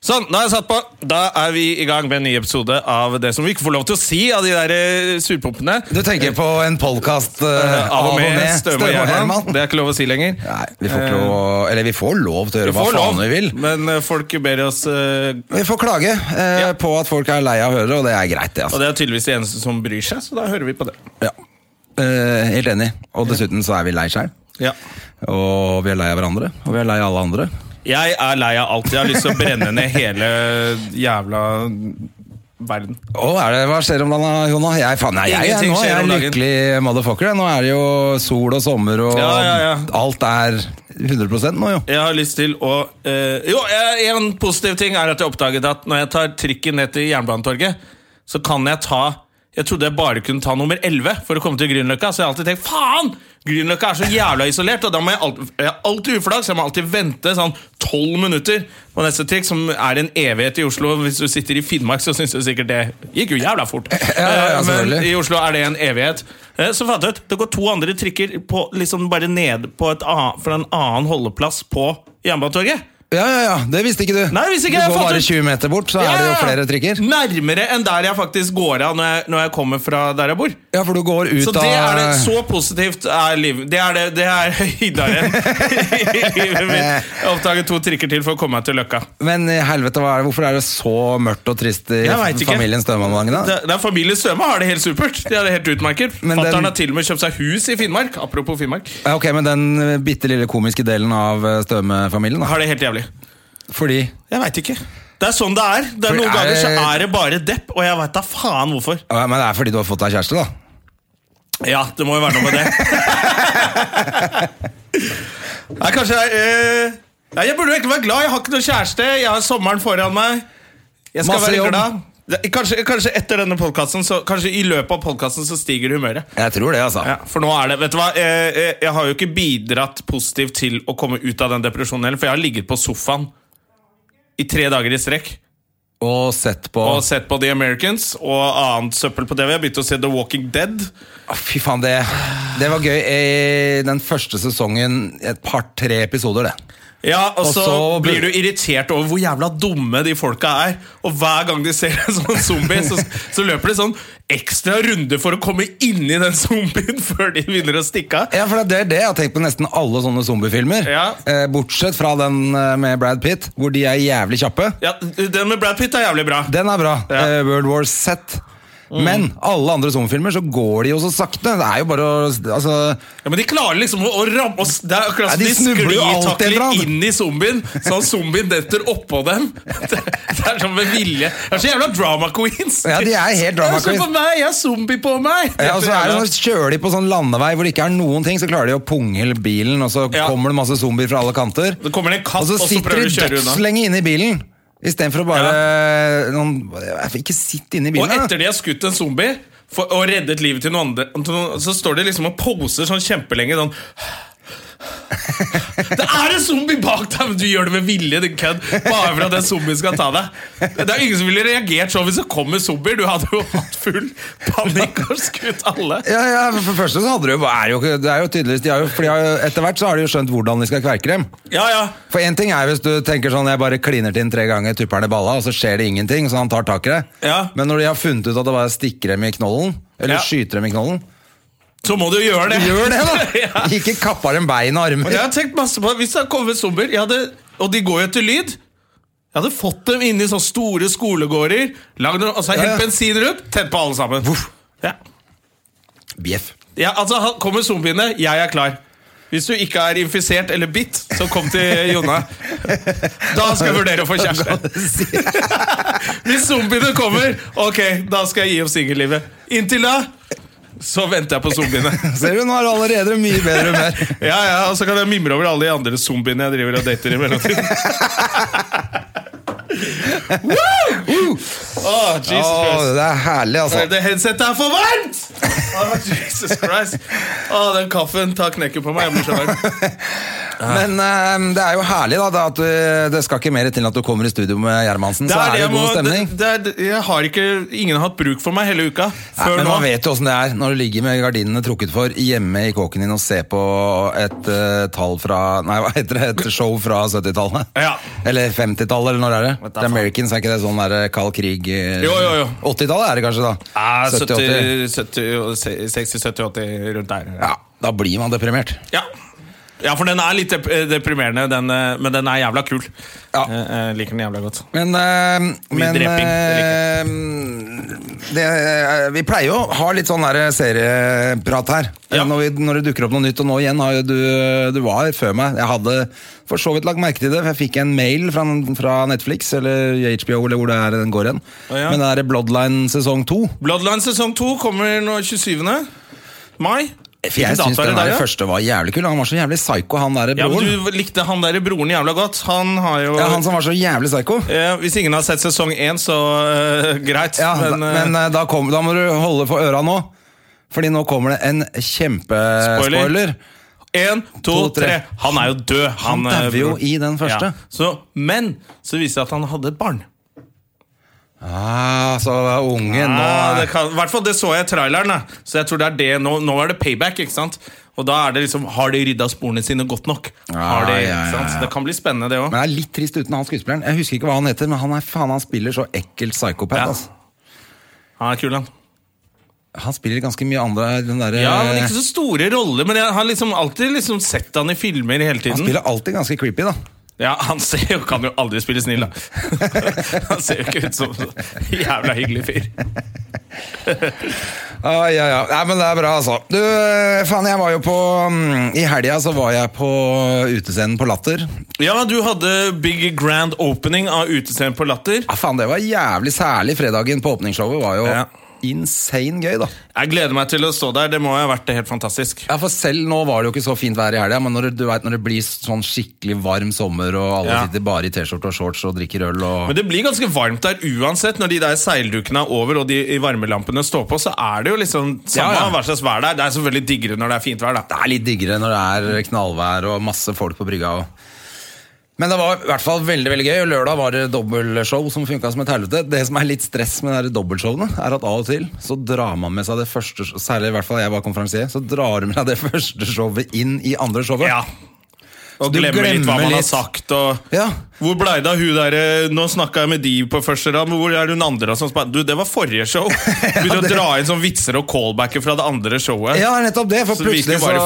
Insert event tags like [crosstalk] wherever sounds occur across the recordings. Sånn, da er jeg satt på. Da er vi i gang med en ny episode av det som vi ikke får lov til å si av de der eh, surpompene. Du tenker på en podkast Eh, Av og med Støme og Gjerman. Herman? Det er ikke lov å si lenger. Nei, vi får ikke lov Eller vi får lov til å Vi gjøre hva får lov, faen vi vil. men eh, folk ber oss eh, Vi får klage eh, Ja. på at folk er lei av å høre det, og det er greit, det. Og altså det er tydeligvis de eneste som bryr seg, så da hører vi på det. ja. Eh, Helt enig. Og dessuten så er vi lei sjøl. Ja. Og vi er lei av hverandre. Og vi er lei av alle andre. Jeg er lei av alt. Jeg har lyst til å brenne ned hele jævla verden. Å, er det, hva skjer om dagen, Jonna? Jeg, faen, nei, jeg, jeg, Ingenting nå er skjer jeg om en dagen. lykkelig motherfucker. jeg. Nå er det jo sol og sommer, og Ja, ja, ja. alt er 100 nå, jo. Jeg har lyst til å eh, Jo, eh, en positiv ting er at jeg oppdaget at når jeg tar trikken ned til Jernbanetorget, så kan jeg ta Jeg trodde jeg bare kunne ta nummer 11 for å komme til Grünerløkka, så jeg har alltid tenkt faen! Grünerløkka er så jævla isolert, og da må jeg alltid, jeg har alltid uflaks. Jeg må alltid vente sånn tolv minutter på neste trikk, som er en evighet i Oslo. Hvis du sitter i Finnmark, så syns du sikkert det gikk jo jævla fort. ja, ja, Eh, Men selvfølgelig. i Oslo er det en evighet. Eh, Så fant jeg ut det går to andre trikker på, liksom bare ned på et annet, fra en annen holdeplass på Jernbanetorget. Ja, ja, ja, det visste ikke du. Nei, det visste ikke jeg, du jeg går fant bare ut. 20 meter bort, så er det jo Ja, flere trikker. Nærmere enn der jeg faktisk går av når jeg, når jeg kommer fra der jeg bor. Ja, for du går ut Så det av er det, så positivt er livet Det er det, det er [laughs] [laughs] høydaren i livet mitt. Jeg oppdaget to trikker til for å komme meg til Løkka. Men i helvete, hva er det? hvorfor er det så mørkt og trist i Jeg vet ikke. familien Støme om dagen? da? Det, det er Familie Søme har det helt supert. De har det helt utmerket. Men den- Fatter'n har til og med kjøpt seg hus i Finnmark. Apropos Finnmark. Ja, ok, Men den eh, bitte lille komiske delen av eh, Støme-familien, da? Har det helt jævlig. Fordi Jeg veit ikke. Det er sånn det er. Det er For Noen er ganger så det- er det bare depp, og jeg veit da faen hvorfor. ja, Men det er fordi du har fått deg kjæreste, da? Ja, det må jo være noe med det. [laughs] Nei, kanskje jeg eh, Nei, Jeg burde jo egentlig være glad. Jeg har ikke noe kjæreste. Jeg har sommeren foran meg. Jeg skal Masse være jobb. glad. Det- Kanskje, kanskje etter denne podkasten, kanskje i løpet av podkasten, så stiger humøret. Jeg tror det, altså. Ja, for nå er det, vet du hva Eh, eh, Jeg har jo ikke bidratt positivt til å komme ut av den depresjonen heller, For jeg har ligget på sofaen I tre dager i strekk Og sett på Og sett på The Americans Og annet søppel på TV Jeg begynte å se The Walking Dead Å, Fy faen, det, det var gøy. Eh, Den første sesongen, et par-tre episoder, det. Ja, Og og så så ble- blir du irritert over hvor jævla dumme de folka er Og hver gang de ser en sånn zombie Så, så løper de sånn ekstra runde for å komme inn i den zombien Før de begynner å stikke av Ja, for det er det jeg har tenkt på nesten alle sånne zombiefilmer. Ja. Eh, bortsett fra den eh, med Brad Pitt, hvor de er jævlig kjappe. ja, Den med Brad Pitt er jævlig bra Den er bra. Ja. Mm. Eh, World War Z. Men alle andre zombiefilmer så går de jo så sakte. Det er jo bare å altså, Ja, men de klarer liksom å, å ramme oss Det er akkurat Ja, som de, de snubler jo alltid bra. sklitakler inn i zombien, sånn at zombien detter oppå dem. [laughs] Det, det er sånn med vilje. Det er så jævla drama queens. Ja, de er helt drama Se queens. på meg, jeg har zombie på meg! ja, og så er det sånn, Kjører de på sånn landevei hvor det ikke er noen ting, så klarer de å pungle bilen, og så Ja. kommer det masse zombier fra alle kanter. Det kommer en katt, Og så og så sitter prøver de de å kjøre unna. dødslenge inne i bilen. Istedenfor å bare noen, Ikke sitt inne i bilen. Og da. etter de har skutt en zombie for, og reddet livet til noen andre, til noen- så står de liksom og poser sånn kjempelenge sånn [laughs] Det er en zombie bak deg, men du gjør det med vilje, din kødd. Bare for at den zombien skal ta deg. Det er ingen som ville reagert sånn hvis det kom en zombie. Du hadde jo hatt full panikk og skutt alle. Ja, ja, for det første så hadde de jo, er jo, ikke- det er jo tydeligvis de har jo, for de har jo, Etter hvert så har de jo skjønt hvordan de skal kverke dem. Ja, ja. For én ting er hvis du tenker sånn Jeg bare kliner til den tre ganger, tupper den i balla, og så skjer det ingenting, så han tar tak i det. Ja. Men når de har funnet ut at det bare stikker dem i knollen, eller Ja. skyter dem i [laughs] knollen Så må du gjøre det. Gjør det, da! [laughs] ja. Ikke kappa dem bein og armer. Og Jeg har tenkt masse på Hvis det hadde kommet zombier jeg hadde, Og de går jo etter lyd Jeg hadde fått dem inn i sånne store skolegårder Lagd noe Altså Ja, ja. helt bensin rundt Tent på alle sammen ja. Bjeff. ja, altså han- Kommer zombiene Jeg er klar hvis du ikke er infisert eller bitt, så kom til Jonna. [laughs] Da skal jeg vurdere å få kjæreste. [laughs] Hvis zombiene kommer, ok, da skal jeg gi opp singellivet. Inntil da, så venter jeg på zombiene. Ser du, nå er det allerede mye bedre humør. Ja, ja, og så kan jeg mimre over alle de andre zombiene jeg driver og dater i mellomtiden. Åh, [laughs] Jesus Åh, Christ. det er herlig, Nei, altså. Det headsetet er for varmt! Åh, Jesus Christ. Åh, den kaffen tar knekken på meg. Jeg blir så varm. Men eh, det er jo herlig, da. Det, at du, det skal ikke mer til enn at du kommer i studio med Gjermansen, så er det jeg god må- stemning. det- det er det- jeg har ikke, ingen har hatt bruk for meg hele uka. Nei, Før men nå. man vet jo åssen det er når du ligger med gardinene trukket for hjemme i kåken din og ser på et eh, tall fra Nei, hva heter det? Et show fra 70-tallet? Ja. Eller 50-tallet, eller når er det? Vet da The faen. Americans, er ikke det sånn der kald krig eh, Jo, jo, jo. 80-tallet er det kanskje, da? Ja, 70-80. 70, 70, 60, 70, 80 rundt der. Ja, da blir man deprimert. Ja. ja, for den er litt dep deprimerende, den, eh, men den er jævla kul. Ja. Jeg, jeg liker den jævla godt. Men, eh, men dreping, eh, det, eh, Vi pleier jo å ha litt sånn der serieprat her. Eh, Ja. Når, vi, når det dukker opp noe nytt, og nå igjen har jo du eh, Du var før meg. Jeg hadde for så vidt lagt merke til det, for jeg fikk en mail fra, fra Netflix eller HBO eller hvor det er den går hen. Å, ja. Men det er Bloodline sesong to. Bloodline sesong 2 kommer nå 27. mai. Eh, For jeg Hvilken syns dato er den det der da? første var jævlig kul. Han var så jævlig psycho, han derre Ja, broren. men Du likte han der broren jævla godt. Han har jo Ja, han som var så jævlig psycho. Eh, Hvis ingen har sett sesong 1, så eh, greit. Ja, men, men, eh, eh, da, kom, da må du holde for øra nå. Fordi nå kommer det en kjempespoiler. Spoiler. En, to, eh, To, tre. tre. Han er jo død. Han, Han dauer eh, jo broren. i den første. Ja. Så, men så viste det seg at han hadde et barn. Ah, så unge nå Ah, er- det kan, I hvert fall det så jeg i traileren. Da. Så jeg tror det er det Nå, nå er det payback. ikke sant? Og da er det liksom Har de rydda sporene sine godt nok? Har Ah, de, ja, ikke ja, sant? ja. Så Det kan bli spennende, det òg. Men jeg er litt trist uten han skuespilleren. Jeg husker ikke hva han heter, men han, er, faen, han spiller så ekkelt psykopat. Ja. Altså. Han er kul, han. Han spiller ganske mye andre den derre- Ja, men Eh. Ikke så store roller, men jeg har liksom alltid liksom sett han i filmer hele Han tiden. spiller alltid ganske creepy, da. Ja, Han ser jo, kan jo aldri spille snill, da. [laughs] han ser jo ikke ut som en jævla hyggelig fyr. Ah, ja, ja. Nei, men det er bra, altså. Du, eh, faen, jeg var jo på mm, I helga så var jeg på utescenen på Latter. Ja, du hadde big grand opening av Utescenen på Latter. Ja, Ah, faen, det var jævlig særlig. Fredagen på åpningsshowet var jo Ja. insane gøy, da. Jeg gleder meg til å stå der. Det må ha vært helt fantastisk. Ja, for selv nå var det jo ikke så fint vær i helga, men når, det- du vet, når det blir sånn skikkelig varm sommer, og alle Ja. sitter bare i T-skjorte og shorts og drikker øl og Men det blir ganske varmt der uansett. Når de der seildukene er over og de i varmelampene står på, så er det jo liksom samme Ja, ja. hva slags vær det er. Det er selvfølgelig diggere når det er fint vær, da. Det er litt diggere når det er knallvær og masse folk på brygga. Og... Men det var i hvert fall veldig veldig gøy, og lørdag var det dobbeltshow som funka som et helvete. Det som er litt stress med de her dobbeltshowene, er at av og til så drar man med seg det første Særlig i hvert fall jeg var konferansier, så drar du med deg det [laughs] første showet inn i andre showet. Ja. Og du glemmer litt glemmer hva man har litt. sagt. Og Ja. Hvor blei det av hun derre Nå snakka jeg med de på første rad, men hvor er hun andre? Som spør, du, det var forrige [laughs] show. Begynte å det- dra inn sånn vitser og callbacker fra det andre showet. Ja, nettopp det. For Så du virker plutselig så eh,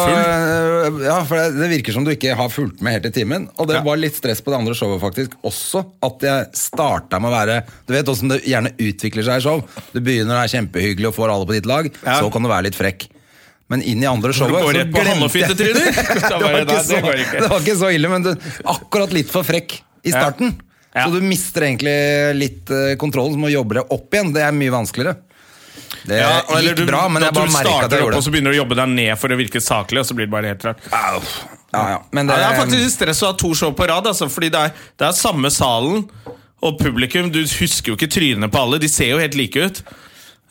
bare Ja, for det, det virker som du ikke har fulgt med helt i timen. Og det Ja. var litt stress på det andre showet faktisk også. At jeg starta med å være Du vet åssen det gjerne utvikler seg i show. Du begynner og er kjempehyggelig og får alle på ditt lag. Ja. Så kan du være litt frekk. Men inn i andre showet går så rett glemte på jeg- hannefytetryner. [laughs] Da det, bare, var nei, ikke det så, går ikke. det var ikke så ille, men du, akkurat litt for frekk i Ja. starten. Ja. Så du mister egentlig litt eh, kontrollen, så må du jobbe deg opp igjen. Det er mye vanskeligere. Det Ja, eller gikk du- bra, men da jeg bare du merka at starter jeg opp, gjorde det. Og så begynner du å jobbe deg ned for å virke saklig, og så blir det bare helt rart. Ja, ja. Men um, Ja, det er faktisk litt stress å ha to show på rad, altså, fordi det er, det er samme salen og publikum. Du husker jo ikke trynene på alle, de ser jo helt like ut.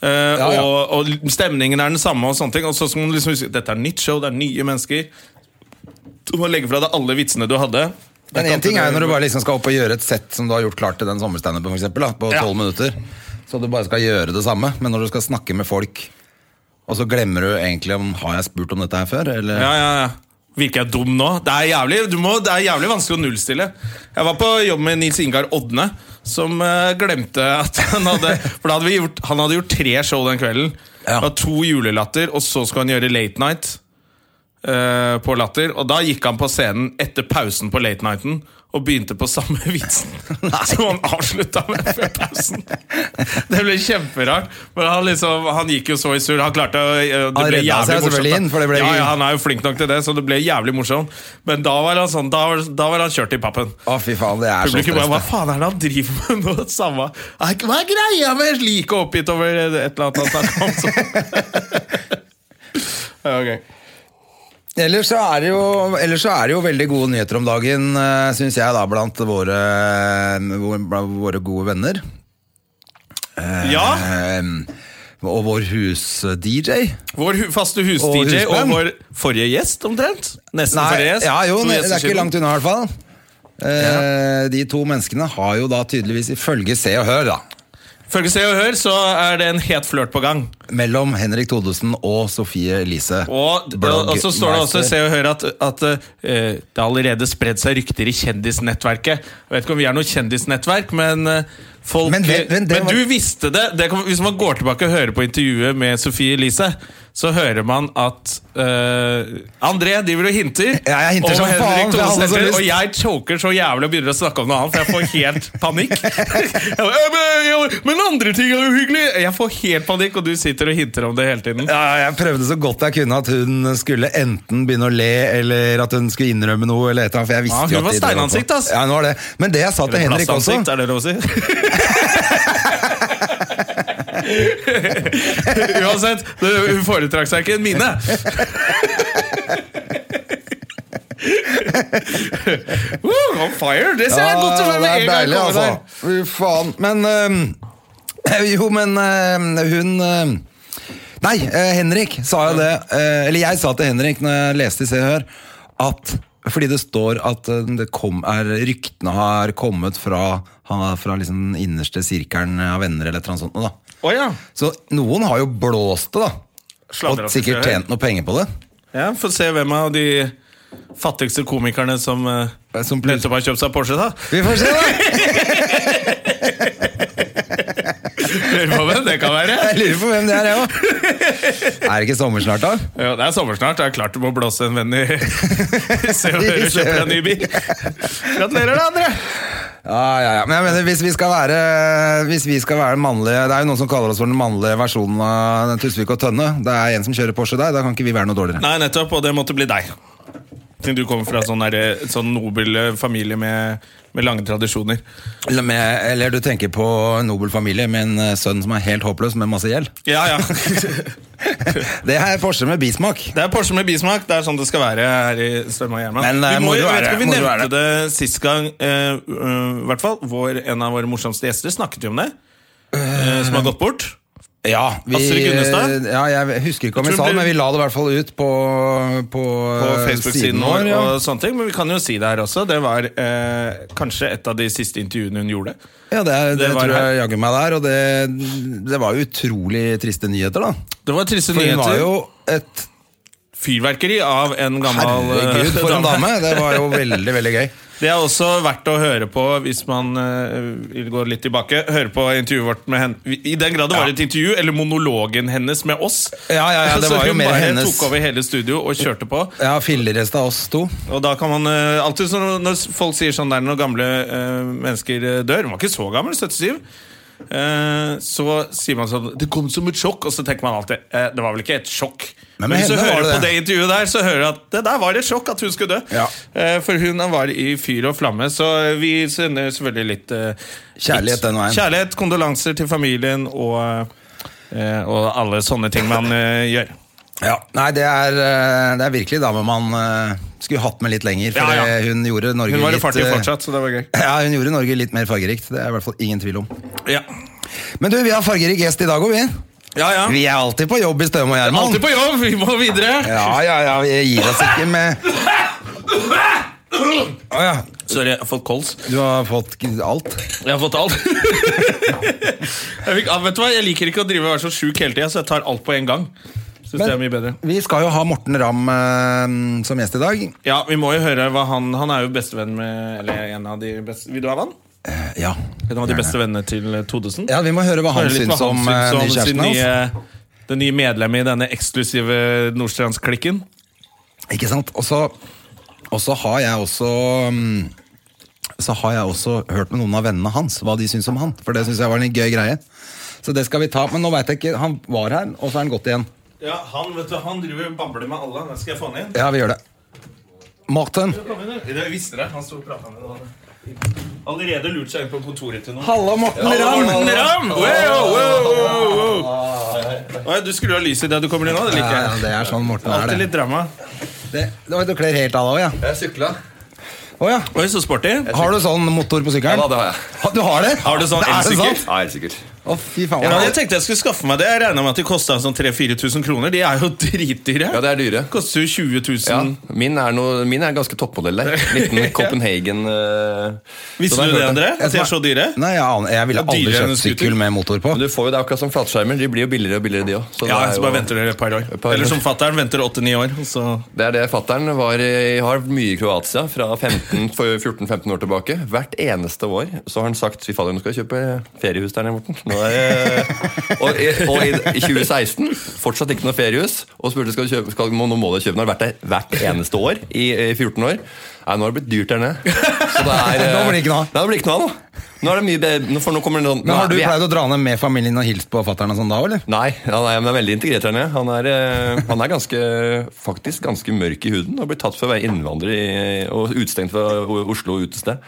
Eh, ja. Og, og stemningen er den samme, og sånne ting. Og så skal man liksom huske dette er nytt show, det er nye mennesker. Du må legge fra deg alle vitsene du hadde. men Jeg en kan ting ikke- er jo når du bare liksom skal opp og gjøre et sett som du har gjort klart til den sommerstandupen, for eksempel, da, på Ja. tolv minutter. Så du bare skal gjøre det samme. Men når du skal snakke med folk, og så glemmer du egentlig om Har jeg spurt om dette her før? Eller? Ja, ja, ja. Virker jeg dum nå? Det er jævlig, du må, det er jævlig vanskelig å nullstille. Jeg var på jobb med Nils Ingar Odne, som eh, glemte at han hadde For da hadde vi gjort, han hadde gjort tre show den kvelden. Ja. Det var to julelatter, og så skulle han gjøre Late Night eh, på Latter. Og da gikk han på scenen etter pausen på Late Nighten og begynte på samme [laughs] vitsen som han avslutta med før pausen. Det ble kjemperart. Men han, liksom, han gikk jo så i surr. Han klarte å eh, Det Han redda ble seg jævlig morsomt. selvfølgelig inn, for da. det ble- ja, ja, han er jo flink nok til det, så det ble jævlig morsomt. Men da var han, sånn, da var, da var han kjørt i pappen. Å, fy faen, det er så Publikum bare Hva stress. faen er det han driver med nå? Samme Er ikke- Hva er greia med like oppgitt over [laughs] et eller annet han snakker om? Så. ja, ok. Ellers så, er det jo, ellers så er det jo veldig gode nyheter om dagen, syns jeg, da, blant våre, blant våre gode venner. Ja, Ehm, og vår hus-DJ. Vår hu faste Og hus-DJ og, husband. vår forrige gjest, omtrent. Nesten Nei, forrige gjest. ja, jo, To det er gjester ikke siden. langt unna i hvert fall. Eh, De to menneskene har jo da tydeligvis ifølge Se og Hør, da. Følge Se og Hør, så er det en het flørt på gang. Mellom Henrik Thodesen og Sofie Elise. Og, og, og så står det også i Se Bloggmeister. og Hør at, at eh, det har allerede spredd seg rykter i kjendisnettverket. Jeg vet ikke om vi er noe kjendisnettverk, men eh, folk Men det- men det var- du visste det! det kan, hvis man går tilbake og hører på intervjuet med Sofie Elise, så hører man at eh, André driver og hinter Ja, jeg hinter som om faen, Henrik for jeg hadde så Thomsen, lyst. og jeg choker så jævlig og begynner å snakke om noe annet, for jeg får [laughs] helt panikk. Jeg bare, «Ja, men- ja, men andre ting er jo hyggelig! Jeg får helt panikk, og du sitter og hinter om det hele tiden. Ja, jeg prøvde så godt jeg kunne at hun skulle enten begynne å le, eller at hun skulle innrømme noe. Eller et eller annet, for jeg visste Ja, hun jo at var de drev på. steinansikt, ass. Ja, hun var det. Men det jeg sa til Henrik også Plassansikt, er det lov å si? [laughs] Uansett, det- hun foretrakk seg ikke en mine. [laughs] Woo, on fire! Det altså. ser jeg godt ut med en gang. jeg kommer der. altså. Fy faen. Men øhm, [laughs] Jo, men øhm, hun øhm, Nei, eh, Henrik sa jo det. eh, eller jeg sa til Henrik når jeg leste i Se og Hør, at fordi det står at eh, det kom, er, ryktene har kommet fra, ha- fra liksom den innerste sirkelen av venner eller et eller annet sånt. noe, Da. Å ja. Så noen har jo blåst det, da. Sladder og opp til sikkert Se og Hør. tjent noe penger på det. ja. Få se hvem av de fattigste komikerne som, eh, Som plutselig- nettopp har kjøpt seg Porsche, da. Vi får se, [laughs] da! Lurer på hvem det kan være. Jeg lurer på hvem det er, jeg òg. [laughs] Er det ikke sommer snart, da? Ja, det er sommer snart. Det er klart du må blåse en venn i [laughs] Se [laughs] og Hør og kjøpe deg en ny bil. Gratulerer, da, André! Ja, ja, ja. Men jeg mener, hvis vi skal være Hvis vi skal være den mannlige Det er jo noen som kaller oss for den mannlige versjonen av den Tusvik og Tønne. Det er en som kjører Porsche der, da kan ikke vi være noe dårligere. Nei, nettopp, og det måtte bli deg. Siden du kommer fra sånn, der, sånn nobel eh, familie med, med lange tradisjoner. Eller, med, eller du tenker på en nobel familie med en eh, sønn som er helt håpløs med masse gjeld. Ja, [laughs] ja. Det Det her er Porsche med bismak. er Porsche med bismak. Det er sånn det skal være her i Strømme og Gjerman. Men, eh, vi må, moro jo- er vet ikke om vi det, moro er nevnte det sist gang. eh, eh, i hvert fall vår, En av våre morsomste gjester snakket jo om det. eh, som har gått bort. Ja, vi, Astrid Gunnestad? ja, jeg husker ikke om vi Jeg tror sa det, det- men vi la det i hvert fall ut på, på, På eh, Facebook-siden vår. ja. og sånne ting Men vi kan jo si det her også. Det var eh, kanskje et av de siste intervjuene hun gjorde. Ja, det, er- det, Det var tror jeg her. jaggu meg der, og det, det var jo utrolig triste nyheter, da. Det var For triste hun var nyheter. jo et Fyrverkeri av en gammel eh, [laughs] Herregud, for en dame! Det var jo veldig, veldig gøy. Det er også verdt å høre på hvis man eh, vil gå litt tilbake. Høre på intervjuet vårt med henne. I den grad det var et intervju, eller monologen hennes med oss. Ja, ja, ja, det [laughs] Så var jo hun mer bare hennes. tok over hele studio og kjørte på. Ja, fillerest av oss to. Og da kan man eh, alltid så Når folk sier sånn der når gamle eh, mennesker eh, dør Hun var ikke så gammel, 77. eh, så sier man sånn Det kom som et sjokk. Og så tenker man alltid eh, Det var vel ikke et sjokk. Men Men, med hvis du henne var hører det på det. det intervjuet der, så hører du at det der var et sjokk at hun skulle dø. Ja. Eh, for hun var i fyr og flamme. Så vi sender selvfølgelig litt eh, Kjærlighet den veien. Kjærlighet, kondolanser til familien og, eh, og alle sånne ting man eh, gjør. Ja, Nei, det er, eh, det er virkelig dame man eh, skulle hatt med litt lenger. For Ja, ja. det- hun gjorde Norge Hun var i litt farten eh, fortsatt, så det var gøy. Ja, hun gjorde Norge litt mer fargerikt. Det er i hvert fall ingen tvil om. Ja, Men du, vi har fargerik gjest i dag òg, vi. ja. ja. Vi er alltid på jobb i Støm og Gjerman. Alltid på jobb! Vi må videre! Ja, ja, ja, vi gir oss ikke med Å ja. Sorry, jeg har fått kols. Du har fått alt? [laughs] Jeg har fått alt. jeg, fikk, ja, vet du hva? jeg liker ikke å drive og være så sjuk hele tida, så jeg tar alt på en gang. Synes det er mye bedre Vi skal jo ha Morten Ramm eh, som gjest i dag. Ja, Vi må jo høre hva han Han er jo bestevenn med Eller en av de beste Vil du ha vann? Ja. En av de beste vennene til eh, Todesen. Ja, Vi må høre hva han Høre litt hva syns om han eh, ny syns om sin kjæresten hans. nye- Det nye medlemmet i denne eksklusive Nordstrandsklikken. Ikke sant? Og så, og så har jeg også mm, Så har jeg også hørt med noen av vennene hans hva de syns om han. For det syns jeg var en gøy greie. Så det skal vi ta. Men nå veit jeg ikke. Han var her, og så er han gått igjen. Ja, Han vet du, han driver og babler med alle. Den skal jeg få han inn. Ja, vi gjør det. Morten. Jeg visste det. Han sto og prata med deg. Allerede lurt seg inn på kontoret til noen. Hallo, Morten Morten Ramm! Wow, wow, wow, Ah, wow. Oi, Du skrur av lyset idet du kommer inn nå. Det liker Ja, ja, jeg. det er sånn Morten er, Alltid det. litt drama. Det, det var- du kler helt av deg òg, ja. Jeg sykla. Å, ja. Oi, så sporty. Har du sånn motor på sykkelen? Ja da, det har jeg. Ha- Du har det? Har du sånn Det er det elsykkel? sant? Ja, helt sikkert. Å, fy faen. Ja, jeg tenkte jeg skulle skaffe meg det. Jeg regna med at de kosta sånn 3000-4000 kroner. De er jo [laughs] dritdyre. Ja, det er dyre. Koster jo 20 000. Ja, min, er noe, min er ganske toppmodell der. [laughs] Liten Copenhagen eh, Visste så du det, hørte jeg. André? At de er så dyre? Nei, jeg, aner- jeg ville Det er aldri dyrere enn kjøpt en scooter. sykkel med motor på. Men du får jo det akkurat som flatskjermer. De blir jo billigere og billigere, de òg. Ja, så bare venter dere et par år. Et par år. Eller som fatter'n venter 8-9 år. Og så Det er det fattern var i- har mye i Kroatia fra 15 for 14-15 år tilbake. Hvert eneste år så har han sagt fy fader, nå skal jeg kjøpe feriehus der nede borte. Nå er det- og, i- og i, i 2016 fortsatt ikke noe feriehus. Og spurte skal du kjøpe, skal, må- nå må du kjøpe noe hvert, hvert eneste år i, i 14 år. Nei, nå har det blitt dyrt der nede. Så det er, eh, [laughs] Nå blir det ikke noe av. Nei, nå blir det ikke noe av. nå. Nå er det mye bedre. nå- For nå kommer det sånn Men Har du vi er- pleid å dra ned med familien og hilst på fatter'n og sånn da, eller? Nei, han er, han er veldig integrert her nede. Han er, eh, han er ganske, faktisk ganske mørk i huden og blir tatt for å være innvandrer i, og utestengt fra O- Oslo utested.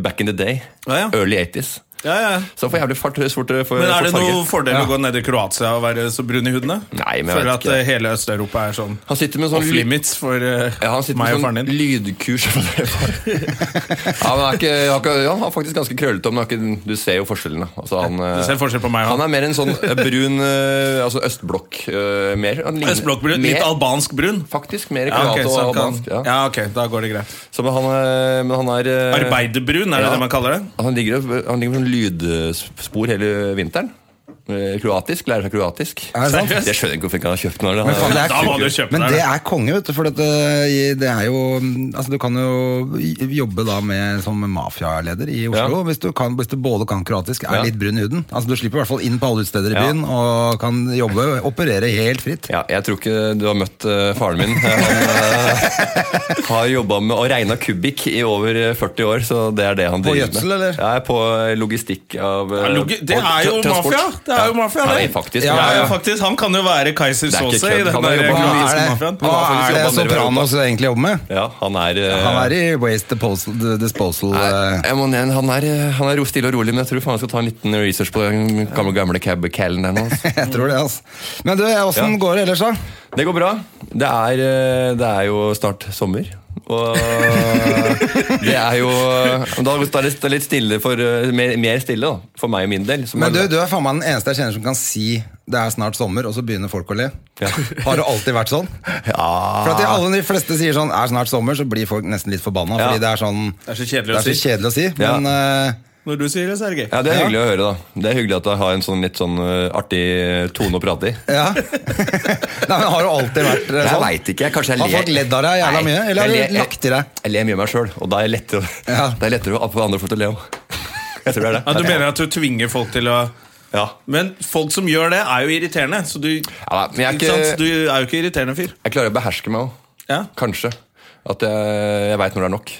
Back in the day. Ah, Ja, ja. Early 80s. ja, ja. Så får jævlig fart fort for Men er det noen fordel ja. å gå ned i Kroatia og være så brun i huden? da? Nei, men jeg Føler vet at ikke. eh, hele Øst-Europa er sånn Han sitter med sånn off limits for eh, Ja, han sitter meg og med faren sånn din. lydkurs. [laughs] ja, men han, er ikke, han, er ikke, han er faktisk ganske krøllete, men han er ikke, du ser jo forskjellene. Altså, han, eh, Du ser forskjell på meg og han han. er mer en sånn eh, brun eh, altså østblokk. eh, mer. Han ligner- Østblokkbrun. Litt mer- albansk brun. Faktisk mer Ja, kroat ok, så og han kan, albansk. ja, ok, da går det greit. Så men han, er- men han er eh, Arbeiderbrun, er det ja. det man kaller det? Han ligger, og- han ligger med sånn lydspor hele vinteren. Eh, Kroatisk. Lærer seg kroatisk. Er det sant? Seriøst? Jeg skjønner ikke hvorfor ikke han har kjøpt noe. Men, faen, det Da må du er, kjøpe men deg det det. er konge, vet du. For det, det er jo Altså, du kan jo jobbe da med som mafialeder i Oslo Ja. hvis, du kan, hvis du både kan kroatisk, er Ja. litt brun i huden. Altså, du slipper i hvert fall inn på alle utesteder i Ja. byen og kan jobbe, operere helt fritt. Ja, jeg tror ikke du har møtt eh, faren min. Han eh, har jobba med og regna kubikk i over eh, 40 år, så det er det han På driver med. gjødsel, eller? Ja, på eh, logistikk av eh, Ja, logi- det og er jo tra- transport. mafia. Det er jo mafia, Ja, det. nei, faktisk. Ja, Ja, ja, ja. faktisk, Han kan jo være Kaiser Det er ikke Sause i kødd. den Han har der jobbet- Hva Hva kroatiske er det, mafiaen. hva er det jobba nede i Sopranos egentlig jobber med? Ja, han er eh, Han er i Waste Disposal, disposal Nei, eh, jeg må ned, han er, han er ro- stille og rolig, men jeg tror faen jeg skal ta en liten research på den gamle, gamle cab-callen der nå. altså. [laughs] Jeg tror det, altså. Men du, åssen Ja. går det ellers, da? [laughs] Det går bra. Det er, eh, det er jo snart sommer. Og eh, det er jo Da er det litt stille for eh, Mer, mer stille, da. For meg og min del. som Men du, er- du er faen meg den eneste jeg kjenner som kan si det er snart sommer, og så begynner folk å le. Ja. [laughs] Ah. Har det alltid vært sånn? Ja. For at de, alle de fleste sier sånn er snart sommer, så blir folk nesten litt forbanna. Ja. Fordi det er sånn Det er så kjedelig det å er så si. kjedelig å si. Ja. Men eh, Når du sier det, så er det gøy. Ja, Det er hyggelig å høre. da Det er hyggelig at jeg har en sånn litt sånn eh, artig tone å prate i. ja. [laughs] Nei, men har det alltid vært eh, Jeg sånn? veit ikke. jeg- Kanskje jeg Har folk ledd av deg jævla Nei, mye, eller har jeg de ler- lagt i deg? Jeg, jeg ler mye av meg sjøl, og da er jeg lettere, [laughs] Ja. da er jeg lettere å få andre folk til å le òg. Jeg tror det er det. Ja, Du mener at du tvinger folk til å Ja. Men folk som gjør det, er jo irriterende. Så du, Ja, men jeg er ikke... ikke- sant? du er jo ikke irriterende fyr. Jeg klarer å beherske meg òg. Ja. Kanskje. At jeg, jeg veit når det er nok.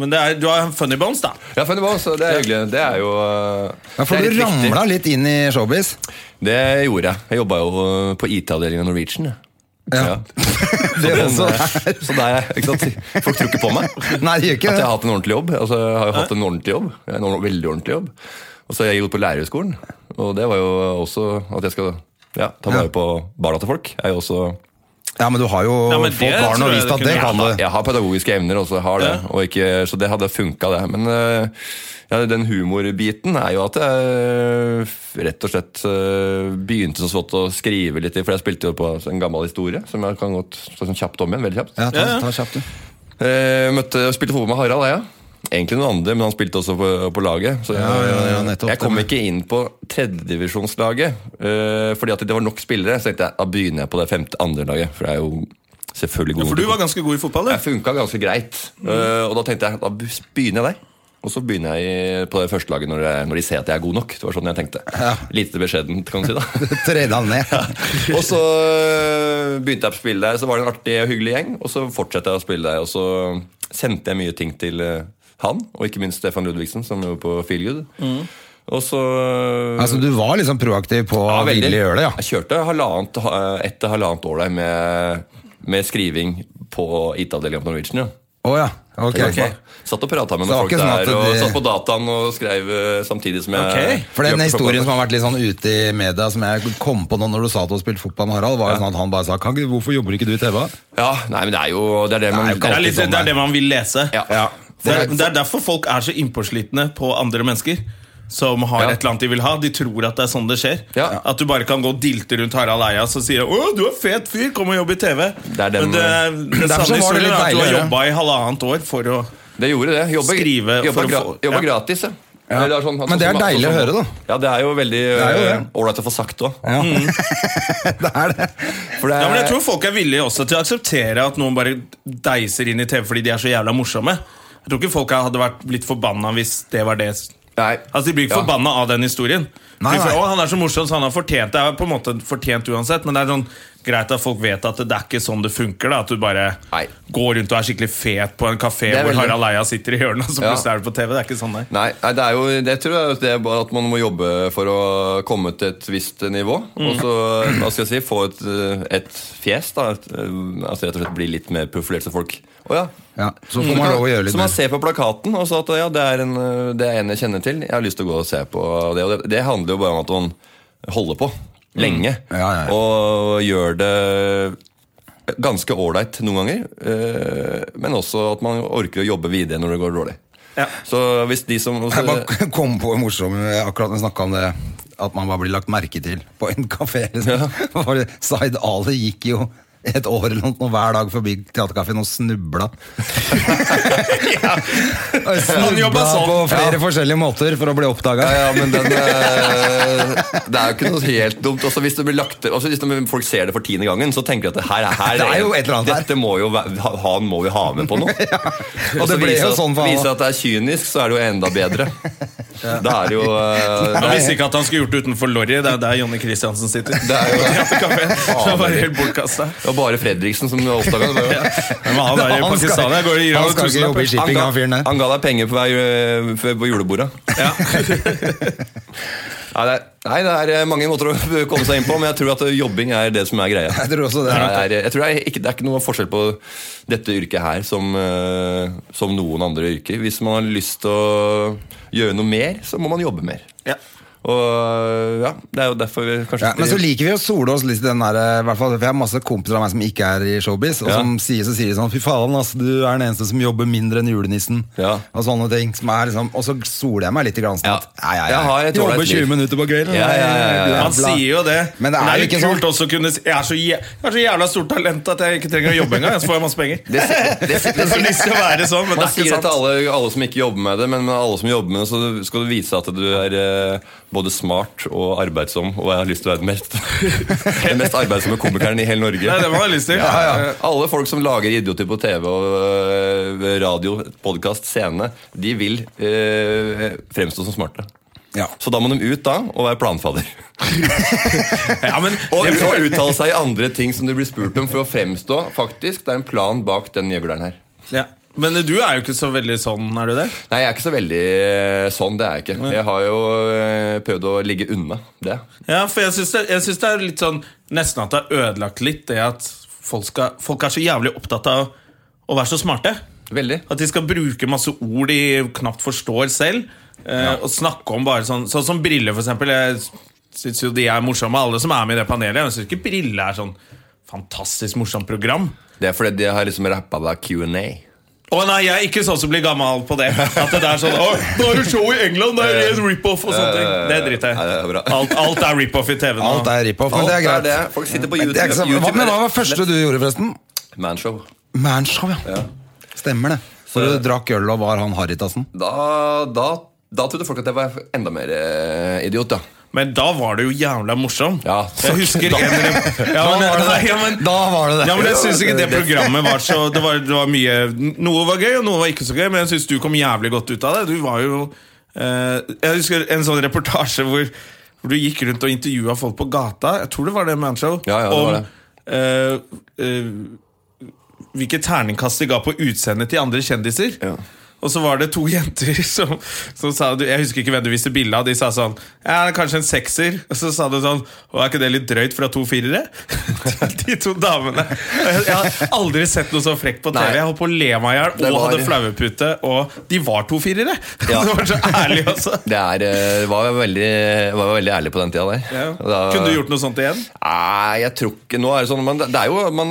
Men det er, du har funny bones, da. Ja, funny bones, det er hyggelig. Det er jo øh, Ja, for det er du litt viktig. ramla litt inn i showbiz. Det gjorde jeg. Jeg jobba jo øh, på IT-avdelingen av Norwegian. jeg. Ja. [laughs] Det Den, også øh, er- så der er jeg, ikke sant? Folk tror ikke på meg. [laughs] Nei, det gjør ikke At jeg det. har hatt en ordentlig jobb. Altså, jeg har jo hatt en ordentlig jobb. En ord- veldig ordentlig jobb. Og så har jeg gått på lærerhøgskolen. Og det var jo også at jeg skal ja, ta vare på barna til folk. Jeg, er jo også, Ja, men du har jo Ja, men det fått barn tror og jeg vist det at det kunne- kan du. jeg har pedagogiske evner også, jeg har det. Ja. Og ikke, så det hadde funka, det. Men øh, ja, den humorbiten er jo at jeg øh, rett og slett øh, begynte så smått å skrive litt, i, for jeg spilte jo på en gammel historie som jeg kan godt sånn kjapt om igjen. veldig kjapt. Ja, ta, ta kjapt, du. Eh, møtte, spilte fotball med Harald, jeg. Egentlig noen andre, men han spilte også på, på laget. Så jeg, ja, ja, nettopp. jeg kom ikke inn på tredjedivisjonslaget, eh, fordi at det var nok spillere. Så tenkte jeg, da begynner jeg på det femte andre laget, for det er jo selvfølgelig god For du var ganske god i fotball. Jeg du. funka ganske greit. Mm. Eh, og da tenkte jeg, da begynner jeg der. Og så begynner jeg i- på det første laget når, jeg, når de ser at jeg er god nok. Det var sånn jeg tenkte. Lite beskjedent, kan du si da. [laughs] Tredje han ned. Og så eh, begynte jeg å spille der, så var det en artig og hyggelig gjeng. Og så fortsatte jeg å spille der, og så sendte jeg mye ting til eh, han, og ikke minst Stefan Ludvigsen, som jobber på Feelgood. Mm. Og så Altså, du var liksom proaktiv på å veldig. ville gjøre det, ja. Jeg kjørte halvannet, eh, ha- ett og halvannet år der med, med skriving på IT-avdelingen på Norwegian. Ja. Å ja. Ok. Jeg satt- Satt og prata med Så noen folk det var ikke sånn at der, og det- satt på dataen og skrev eh, samtidig som jeg Ok. For den hørte på historien plata. som har vært litt sånn ute i media, som jeg kom på nå når du sa at du har spilt fotball med Harald, var jo sånn at han bare sa kan, ikke- 'Hvorfor jobber ikke du i TV?' Ja, nei, men det er jo det er det man er jo Det er, alltid litt, sånn, det er det man vil lese. Ja. Det, er, det er derfor folk er så innpåslitne på andre mennesker som har Ja. et eller annet de vil ha. De tror at det er sånn det skjer. Ja. At du bare kan gå og dilte rundt Harald Eia og sier 'Å, du er fet fyr, kom og jobb i TV'. Det er Men den- det, det Derfor så sanne var det historien litt er sånn at du deilig har å jobba i halvannet år for å Det gjorde det. Jobba, Skrive jobba, for å gra få- ja. jobba gratis, ja. Eller sånn- Men det er sånn- deilig å høre, da. Ja, det er jo veldig er jo det. eh, ålreit å få sagt òg. Ja. [laughs] det er det. For det Ja, men er Jeg tror folk er villige også til å akseptere at noen bare deiser inn i TV fordi de er så jævla morsomme. Jeg tror ikke folk hadde vært blitt forbanna hvis det var det. Nei. Altså, De blir ikke Ja. forbanna av den historien. Nei, de, får, nei. Å, han er så morsom, så han har fortjent det. Det er på en måte fortjent uansett, men det er sånn greit at folk vet at det, det er ikke sånn det funker. da At du bare Nei. går rundt og er skikkelig fet på en kafé Det er hvor veldig- Harald Eia sitter i hjørnet, og så Ja. plutselig er det på TV. Det er ikke sånn, nei. Nei, nei, det er jo, det tror jeg det er bare at man må jobbe for å komme til et visst nivå. Og så hva skal jeg si, få et, eh, et fjes. da et, eh, altså Rett og slett bli litt mer profilert som folk. Å ja. Mm. Ja, så får man lov å gjøre litt Så man mer. ser på plakaten og så at ja, det er en, eh, det er en jeg kjenner til. Jeg har lyst til å gå og se på det. Og det, det handler jo bare om at man holder på lenge. Mm. Ja, ja, ja. Og gjør det ganske ålreit noen ganger. eh, Men også at man orker å jobbe videre når det går dårlig. Ja. Så hvis de som [laughs] Jeg bare kom på en morsom akkurat når jeg snakka om det. At man bare blir lagt merke til på en kafé. Liksom. [laughs] For Zaid Ali gikk jo et år eller noe hver dag forbi teaterkafeen og snubla. [laughs] Og snubla jobba sånn. på flere forskjellige måter for å bli oppdaga. Ja, ja, men den, eh, det er jo ikke noe helt dumt. Også hvis, det blir lagt, også hvis det- folk ser det for tiende gangen, så tenker de at det her, er- her Det er jo et eller annet her. Dette må jo, væ- ha- han må vi ha med på [laughs] nå. Og Og det så ble viser jo at- sånn for han Viser at det er kynisk, så er det jo [laughs] enda bedre. Da er det jo eh, Han visste ikke at han skulle gjort det utenfor Lorry. Det er der Jonny Christiansen sitter. Det er [laughs] jo Kaféen. Det var helt bortkasta. det var bare Fredriksen som [laughs] oppdaga det. Men han er jo Han skal- pakistaner. Jeg går og gir han ham skal ikke jobbe i tusenlapper. shipping, han fyren der. Han ga deg penger på, vei, eh, på julebordet. Ja. [laughs] Nei, det er, nei, det er øh, mange måter å [laughs] komme seg inn på, men jeg tror at øh, jobbing er det som er greia. Jeg tror også det. Det er, jeg tror det, er ikke, det er ikke noe forskjell på dette yrket her som, eh, som noen andre yrker. Hvis man har lyst til å gjøre noe mer, så må man jobbe mer. Ja. Og øh, ja, Det er jo derfor vi kanskje Ja, men så liker vi å sole oss litt i den der eh, i hvert fall, For jeg har masse kompiser av meg som ikke er i showbiz, og Ja. som sier, så sier de sånn Fy faen, ass, du er den eneste som jobber mindre enn julenissen. Ja. Og sånne ting. Som er liksom, og så soler jeg meg litt i gransen. Ja. at, Nei, nei, nei. Jeg har et ålreit jobber liv. 20 minutter på kvelden. Ja, ja, ja, ja, ja. Han sier jo det. Men det er jo ikke kult sånn. også å kunne si jeg er, så jæ jeg er så jævla stort talent at jeg ikke trenger å jobbe engang. Så får jeg masse penger. Det, det, det, [laughs] Det har lyst til å være sånn, men det Man er sier ikke det til sant. alle, alle som ikke jobber med det, men alle som jobber med det, så skal du vise at du er eh, både smart og arbeidsom, og jeg har lyst til å være den mest, [laughs] den mest arbeidsomme komikeren i hele Norge. Det er det man har lyst til. Ja, ja. Alle folk som lager idioter på TV og eh, radio, podkast, scene, de vil eh, fremstå som smarte. Ja. Så da må de ut da og være planfader. Ja, men, Og, det- [laughs] og uttale seg i andre ting som de blir spurt om, for å fremstå. Faktisk, Det er en plan bak den gjøgleren her. ja. men du er jo ikke så veldig sånn, er du det? Nei, jeg er ikke så veldig eh, sånn. det er Jeg ikke Jeg har jo eh, prøvd å ligge unna det. Ja, for jeg syns det, jeg synes det er litt sånn Nesten at det er ødelagt litt, det at folk, skal, folk er så jævlig opptatt av å være så smarte. Veldig. At de skal bruke masse ord de knapt forstår selv. eh, Og snakke om bare sånn Sånn som briller, for eksempel. Jeg syns jo de er morsomme, alle som er med i det panelet. Jeg syns ikke briller er sånn fantastisk morsomt program. Det er fordi de har liksom rappa deg Q&A. Å nei, jeg er ikke sånn som blir gammel på det. At det er sånn Å, nå er det show i England, det er en rip-off og sånne ting. Det driter Ja, det er jeg bra. i. Alt, alt er rip-off i TV nå. Alt er rip-off, men Alt det er greit. det. Folk sitter på Men YouTube. det er ikke så, hva, YouTube men hva var det første du gjorde, forresten? Manshow. Manshow, ja. Stemmer det. For Så- du drakk øl og var han Haritassen. Da, da, da trodde folk at jeg var enda mer eh, idiot, da. Men da var det jo jævla morsom. Ja, jeg husker en eller ja, men, nei, ja, men, Da var det det. ja, men jeg synes ikke det programmet var så det var, det var mye Noe var gøy, og noe var ikke så gøy, men jeg syns du kom jævlig godt ut av det. Du var jo eh, Jeg husker en sånn reportasje hvor, hvor du gikk rundt og intervjua folk på gata. Jeg tror det var det Manshow. Ja, ja, det var det. om eh, eh, hvilke terningkast de ga på utseendet til andre kjendiser. Og så var det to [laughs] jenter som, som sa du- Jeg husker ikke hvem du viste bilde av. De sa sånn Ja, det er kanskje en sekser. Og så sa du sånn Å, er ikke det litt drøyt fra to firere? [laughs] De to damene. Og Jeg, jeg har aldri sett noe så frekt på TV. Nei. Jeg holdt på å le meg i hjel Det og var- hadde flaumepute. Og de var to firere! [laughs] Ja. Det var så ærlig, altså. Det er, eh, var, veldig, var veldig ærlig på den tida der. Ja. Da- Kunne du gjort noe sånt igjen? Nei, Ah, jeg tror ikke Nå er det sånn Men det er jo man,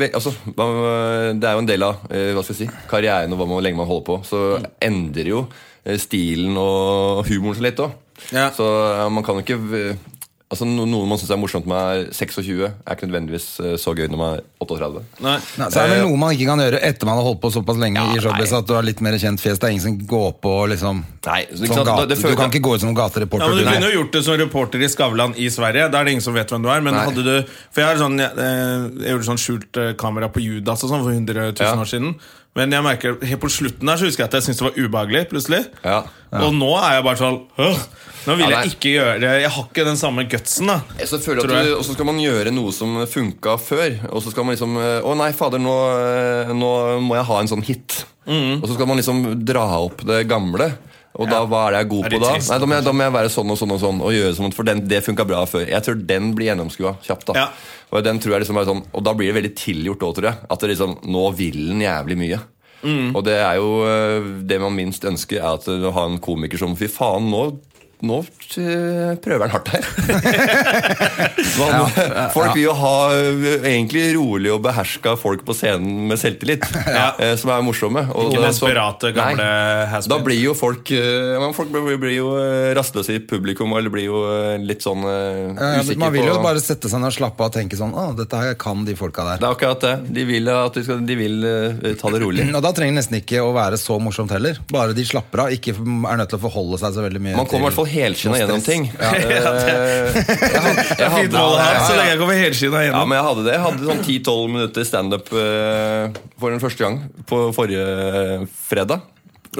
vi- altså, man, Det er jo en del av eh, Hva skal jeg si Karrieren og hva man, hvor lenge man holder på Så endrer jo eh, stilen og humoren seg litt også Ja. Så eh, man kan jo ikke eh, Altså no, Noe man synes er morsomt med er 26 Er ikke nødvendigvis eh, så gøy når man er 38 Nei. Nei, så er Eh, det vel noe man ikke kan gjøre etter man har holdt på såpass lenge i showbiz at du har litt mer kjent fjes. Det er ingen som går på liksom Nei, så ikke som sant, gate, det- det føler- Du kan ikke gå ut som Ja, gatereporter. men Du du. kunne jo gjort det som reporter i Skavlan i Sverige. Da er det ingen som vet hvem du er. Men Nei. hadde du For jeg, har sånn, jeg, eh, jeg gjorde sånn skjult eh, kamera på Judas og sånn for 100 000 Ja. år siden. Men jeg merker helt på slutten der så husker jeg at jeg syntes det var ubehagelig. plutselig Ja. Og nå er jeg bare sånn «Åh, Nå vil Ja, nei. jeg ikke gjøre Jeg har ikke den samme gutsen, da. Jeg Eh, så føler Tror jeg. at du, Og så skal man gjøre noe som funka før. Og så skal man liksom eh, Å nei, fader, nå, eh, nå må jeg ha en sånn hit. Mm. Og så skal man liksom dra opp det gamle. Og da, hva er det jeg er god Er det på da? trist? Nei, da må, jeg, da må jeg være sånn og sånn og sånn. Og gjøre sånn, For den, det funka bra før. Jeg tror den blir gjennomskua kjapt. da Ja. Og den tror jeg liksom er sånn Og da blir det veldig tilgjort òg, tror jeg. At det liksom, nå vil den jævlig mye. Mm. Og det er jo eh, det man minst ønsker, er at eh, å ha en komiker som Fy faen, nå, nå eh, prøver han hardt her. Hva, folk vil jo ha ø, egentlig rolig og beherska folk på scenen med [laughs] selvtillit. eh, Som er morsomme. og Ikke det er så- desperate, gamle Nei, has-beens. Da blir jo folk ø, men Folk blir, blir jo ø, rastløse i publikum eller blir jo ø, litt sånn ø, Ja, usikre Eh, man vil jo på bare sette seg ned og slappe av og tenke sånn Å, dette her kan de folka der. Det er akkurat det. De vil, at du skal, de vil ø, ta det rolig. Og da trenger det nesten ikke å være så morsomt heller. Bare de slapper av, ikke er nødt til å forholde seg så veldig mye Man kommer i hvert fall helskinna gjennom ting. [laughs] Eh, jeg hadde- jeg Det er hadde- fint mål å ha, ja, så ja. lenge jeg kommer helskinna Ja, gjennom. men jeg hadde det. Jeg hadde sånn 10-12 minutter standup eh, for den første gang på forrige eh, fredag.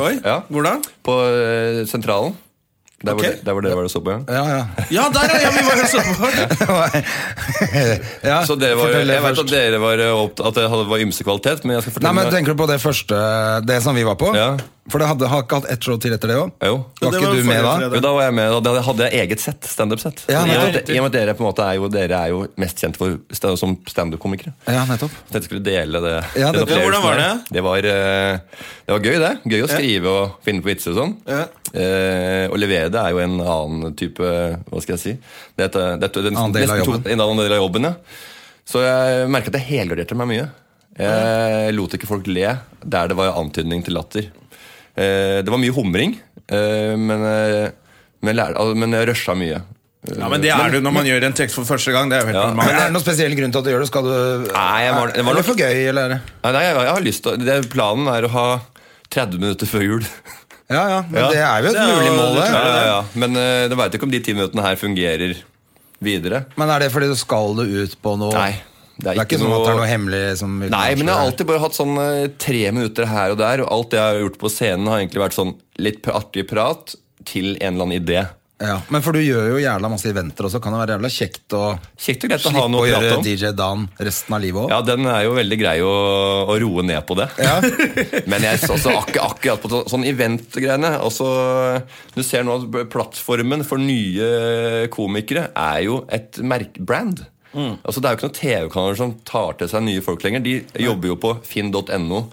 Oi, Ja. hvordan? På eh, Sentralen. Der hvor, Ok. der hvor dere var og så på. Ja. Ja, Ja, der er jeg! Vi var jo så [laughs] på. ja. [laughs] ja Så det var, fortell det jeg vet først. at dere var eh, opptatt At det hadde- var ymse kvalitet, men jeg skal Nei, fortelle men Tenker du på det første Det som vi var på? Ja. For det hadde, har ikke hatt ett show til etter det òg? Jo. Ja, Var det ikke var jo du med forrige da? fredag. Jo, da var jeg med, da hadde jeg eget sett. Standup-sett. I Ja, og med at- nettopp. i og med at dere på en måte er jo, dere er jo mest kjent for, stand- som standup-komikere. Ja, nettopp. Så jeg skulle dele det. Ja, det- den Ja, opplevelsen hvordan var der. det? Det var, eh, det var gøy, det. Gøy å skrive og finne på vitser og sånn. Eh, å levere det er jo en annen type Hva skal jeg si? Det er, det er den, Annen del av nesten to- jobben. En annen del av jobben, ja. Så jeg merket at jeg helgarderte meg mye. Jeg lot ikke folk le der det var antydning til latter. Eh, det var mye humring, eh, men, eh, men, jeg lærte- altså, men jeg rusha mye. Ja, men det er du når man gjør en tekst for første gang. Det er jo helt Ja. Men normalt. Er det noen spesiell grunn til at du gjør det? Skal du Nei, jeg var- det var Eller nok- for gøy, eller? Nei, nei, jeg, jeg har lyst til å- det, Planen er å ha 30 minutter før jul. Ja, ja, men Ja. det er jo et Det er jo- mulig mål, det det. tror jeg. Ja, ja, ja. Men eh, det veit ikke om de ti minuttene her fungerer videre. Men er det fordi du skal du ut på noe Nei. Det er ikke, sånn at det er noe hemmelig som Nei, men jeg har alltid bare hatt sånn eh, tre minutter her og der, og alt det jeg har gjort på scenen, har egentlig vært sånn litt pr- artig prat til en eller annen idé. ja. Men for du gjør jo jævla masse eventer også. Kan det være jævla kjekt å Kjekt og greit å ha slippe å, noe å prate gjøre om. DJ Dan resten av livet òg? Ja, den er jo veldig grei å, å roe ned på det. [laughs] Men jeg så så akkur, akkurat på så- sånn event-greiene altså, Du ser nå at plattformen for nye komikere er jo et merkebrand. Altså, det er jo ikke noen TV-kanaler som tar til seg nye folk lenger. De jobber jo på finn.no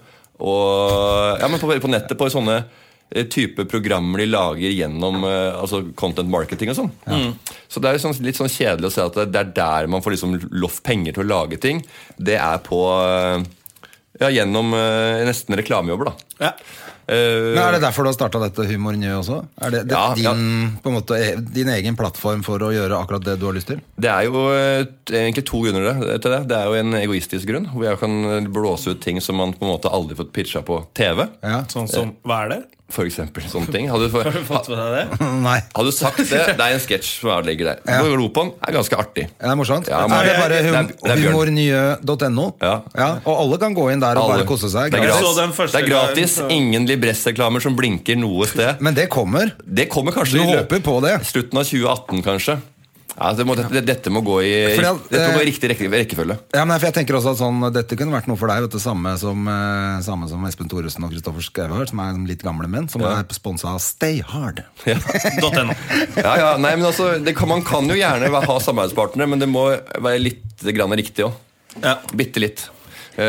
og ja, men på, på nettet på sånne eh, type programmer de lager gjennom eh, altså content marketing og sånn. Så det er jo sånn, litt sånn kjedelig å se at det, det er der man får liksom loff penger til å lage ting. Det er på eh, ja, gjennom eh, nesten reklamejobber, da. Ja. Eh, Men Er det derfor du har starta dette Humor Njø også? Er det, det Ja, ja. din, På en måte, e- din egen plattform for å gjøre akkurat det du har lyst til? Det er jo eh, t- egentlig to grunner det- til det. Det er jo en egoistisk grunn, hvor jeg kan eh, blåse ut ting som man på en måte aldri fått pitcha på TV. Ja. [laughs] Sånn som Hva er det? For eksempel sånne ting. Hadde du, Har du fått med deg [laughs] det? Nei. hadde du sagt det? Det er en sketsj som er- ligger der. Ja. Ja. Glopan er ganske artig. Ja, det er morsomt. Ja, men- er det bare hum Det er- det er Bjørn. humornye.no? Ja. Og alle kan gå inn der og Alle. bare kose seg? Det er Jeg gratis. så den første det er gratis. gangen, så- Ingen libressreklamer som blinker noe sted. Men det kommer. Det kommer kanskje Du i løpet- håper på det. Slutten av 2018, kanskje. Ja, det må, det, dette må gå i, Fordi at, dette må gå eh, i riktig rekke, rekkefølge. Ja, men for jeg tenker også at sånn, Dette kunne vært noe for deg, vet du, samme som, eh, samme som Espen Thoresen og Kristoffer Schou, som er liksom litt gamle menn, som Ja. er sponsa av Stay Hard. .no. Ja, ja, nei, men altså, det kan, Man kan jo gjerne være- ha samarbeidspartnere, men det må være litt grann riktig òg. Ja. Bitte litt.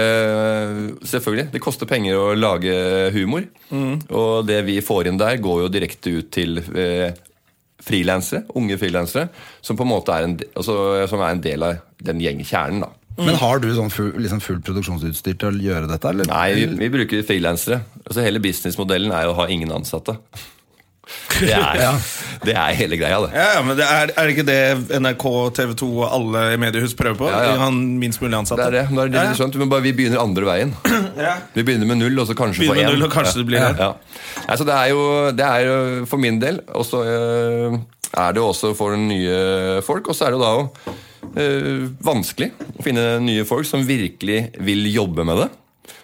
Eh, selvfølgelig. Det koster penger å lage humor. Og det vi får inn der, går jo direkte ut til eh, frilansere. Unge frilansere. Som på en måte er en, de- altså, som er en del av den gjengkjernen, da. Men har du sånn full, liksom fullt produksjonsutstyr til å gjøre dette? Eller? Nei, vi, vi bruker frilansere. Altså, hele businessmodellen er jo å ha ingen [laughs] ansatte. Det er, det er hele greia, det. Ja, ja, men det er, er det ikke det NRK, TV 2 og alle mediehus prøver på? Ja, ja. Han minst mulig ansatte? Det er det. Nå er det litt skjønt, men bare vi begynner andre veien. Ja. Vi begynner med null, og så kanskje Begynner med på én. null, og kanskje det blir ja. det. Ja. Nei, så det er jo det er jo for min del, og så øh, er det jo også for nye folk. Og så er det jo da jo, øh, vanskelig å finne nye folk som virkelig vil jobbe med det.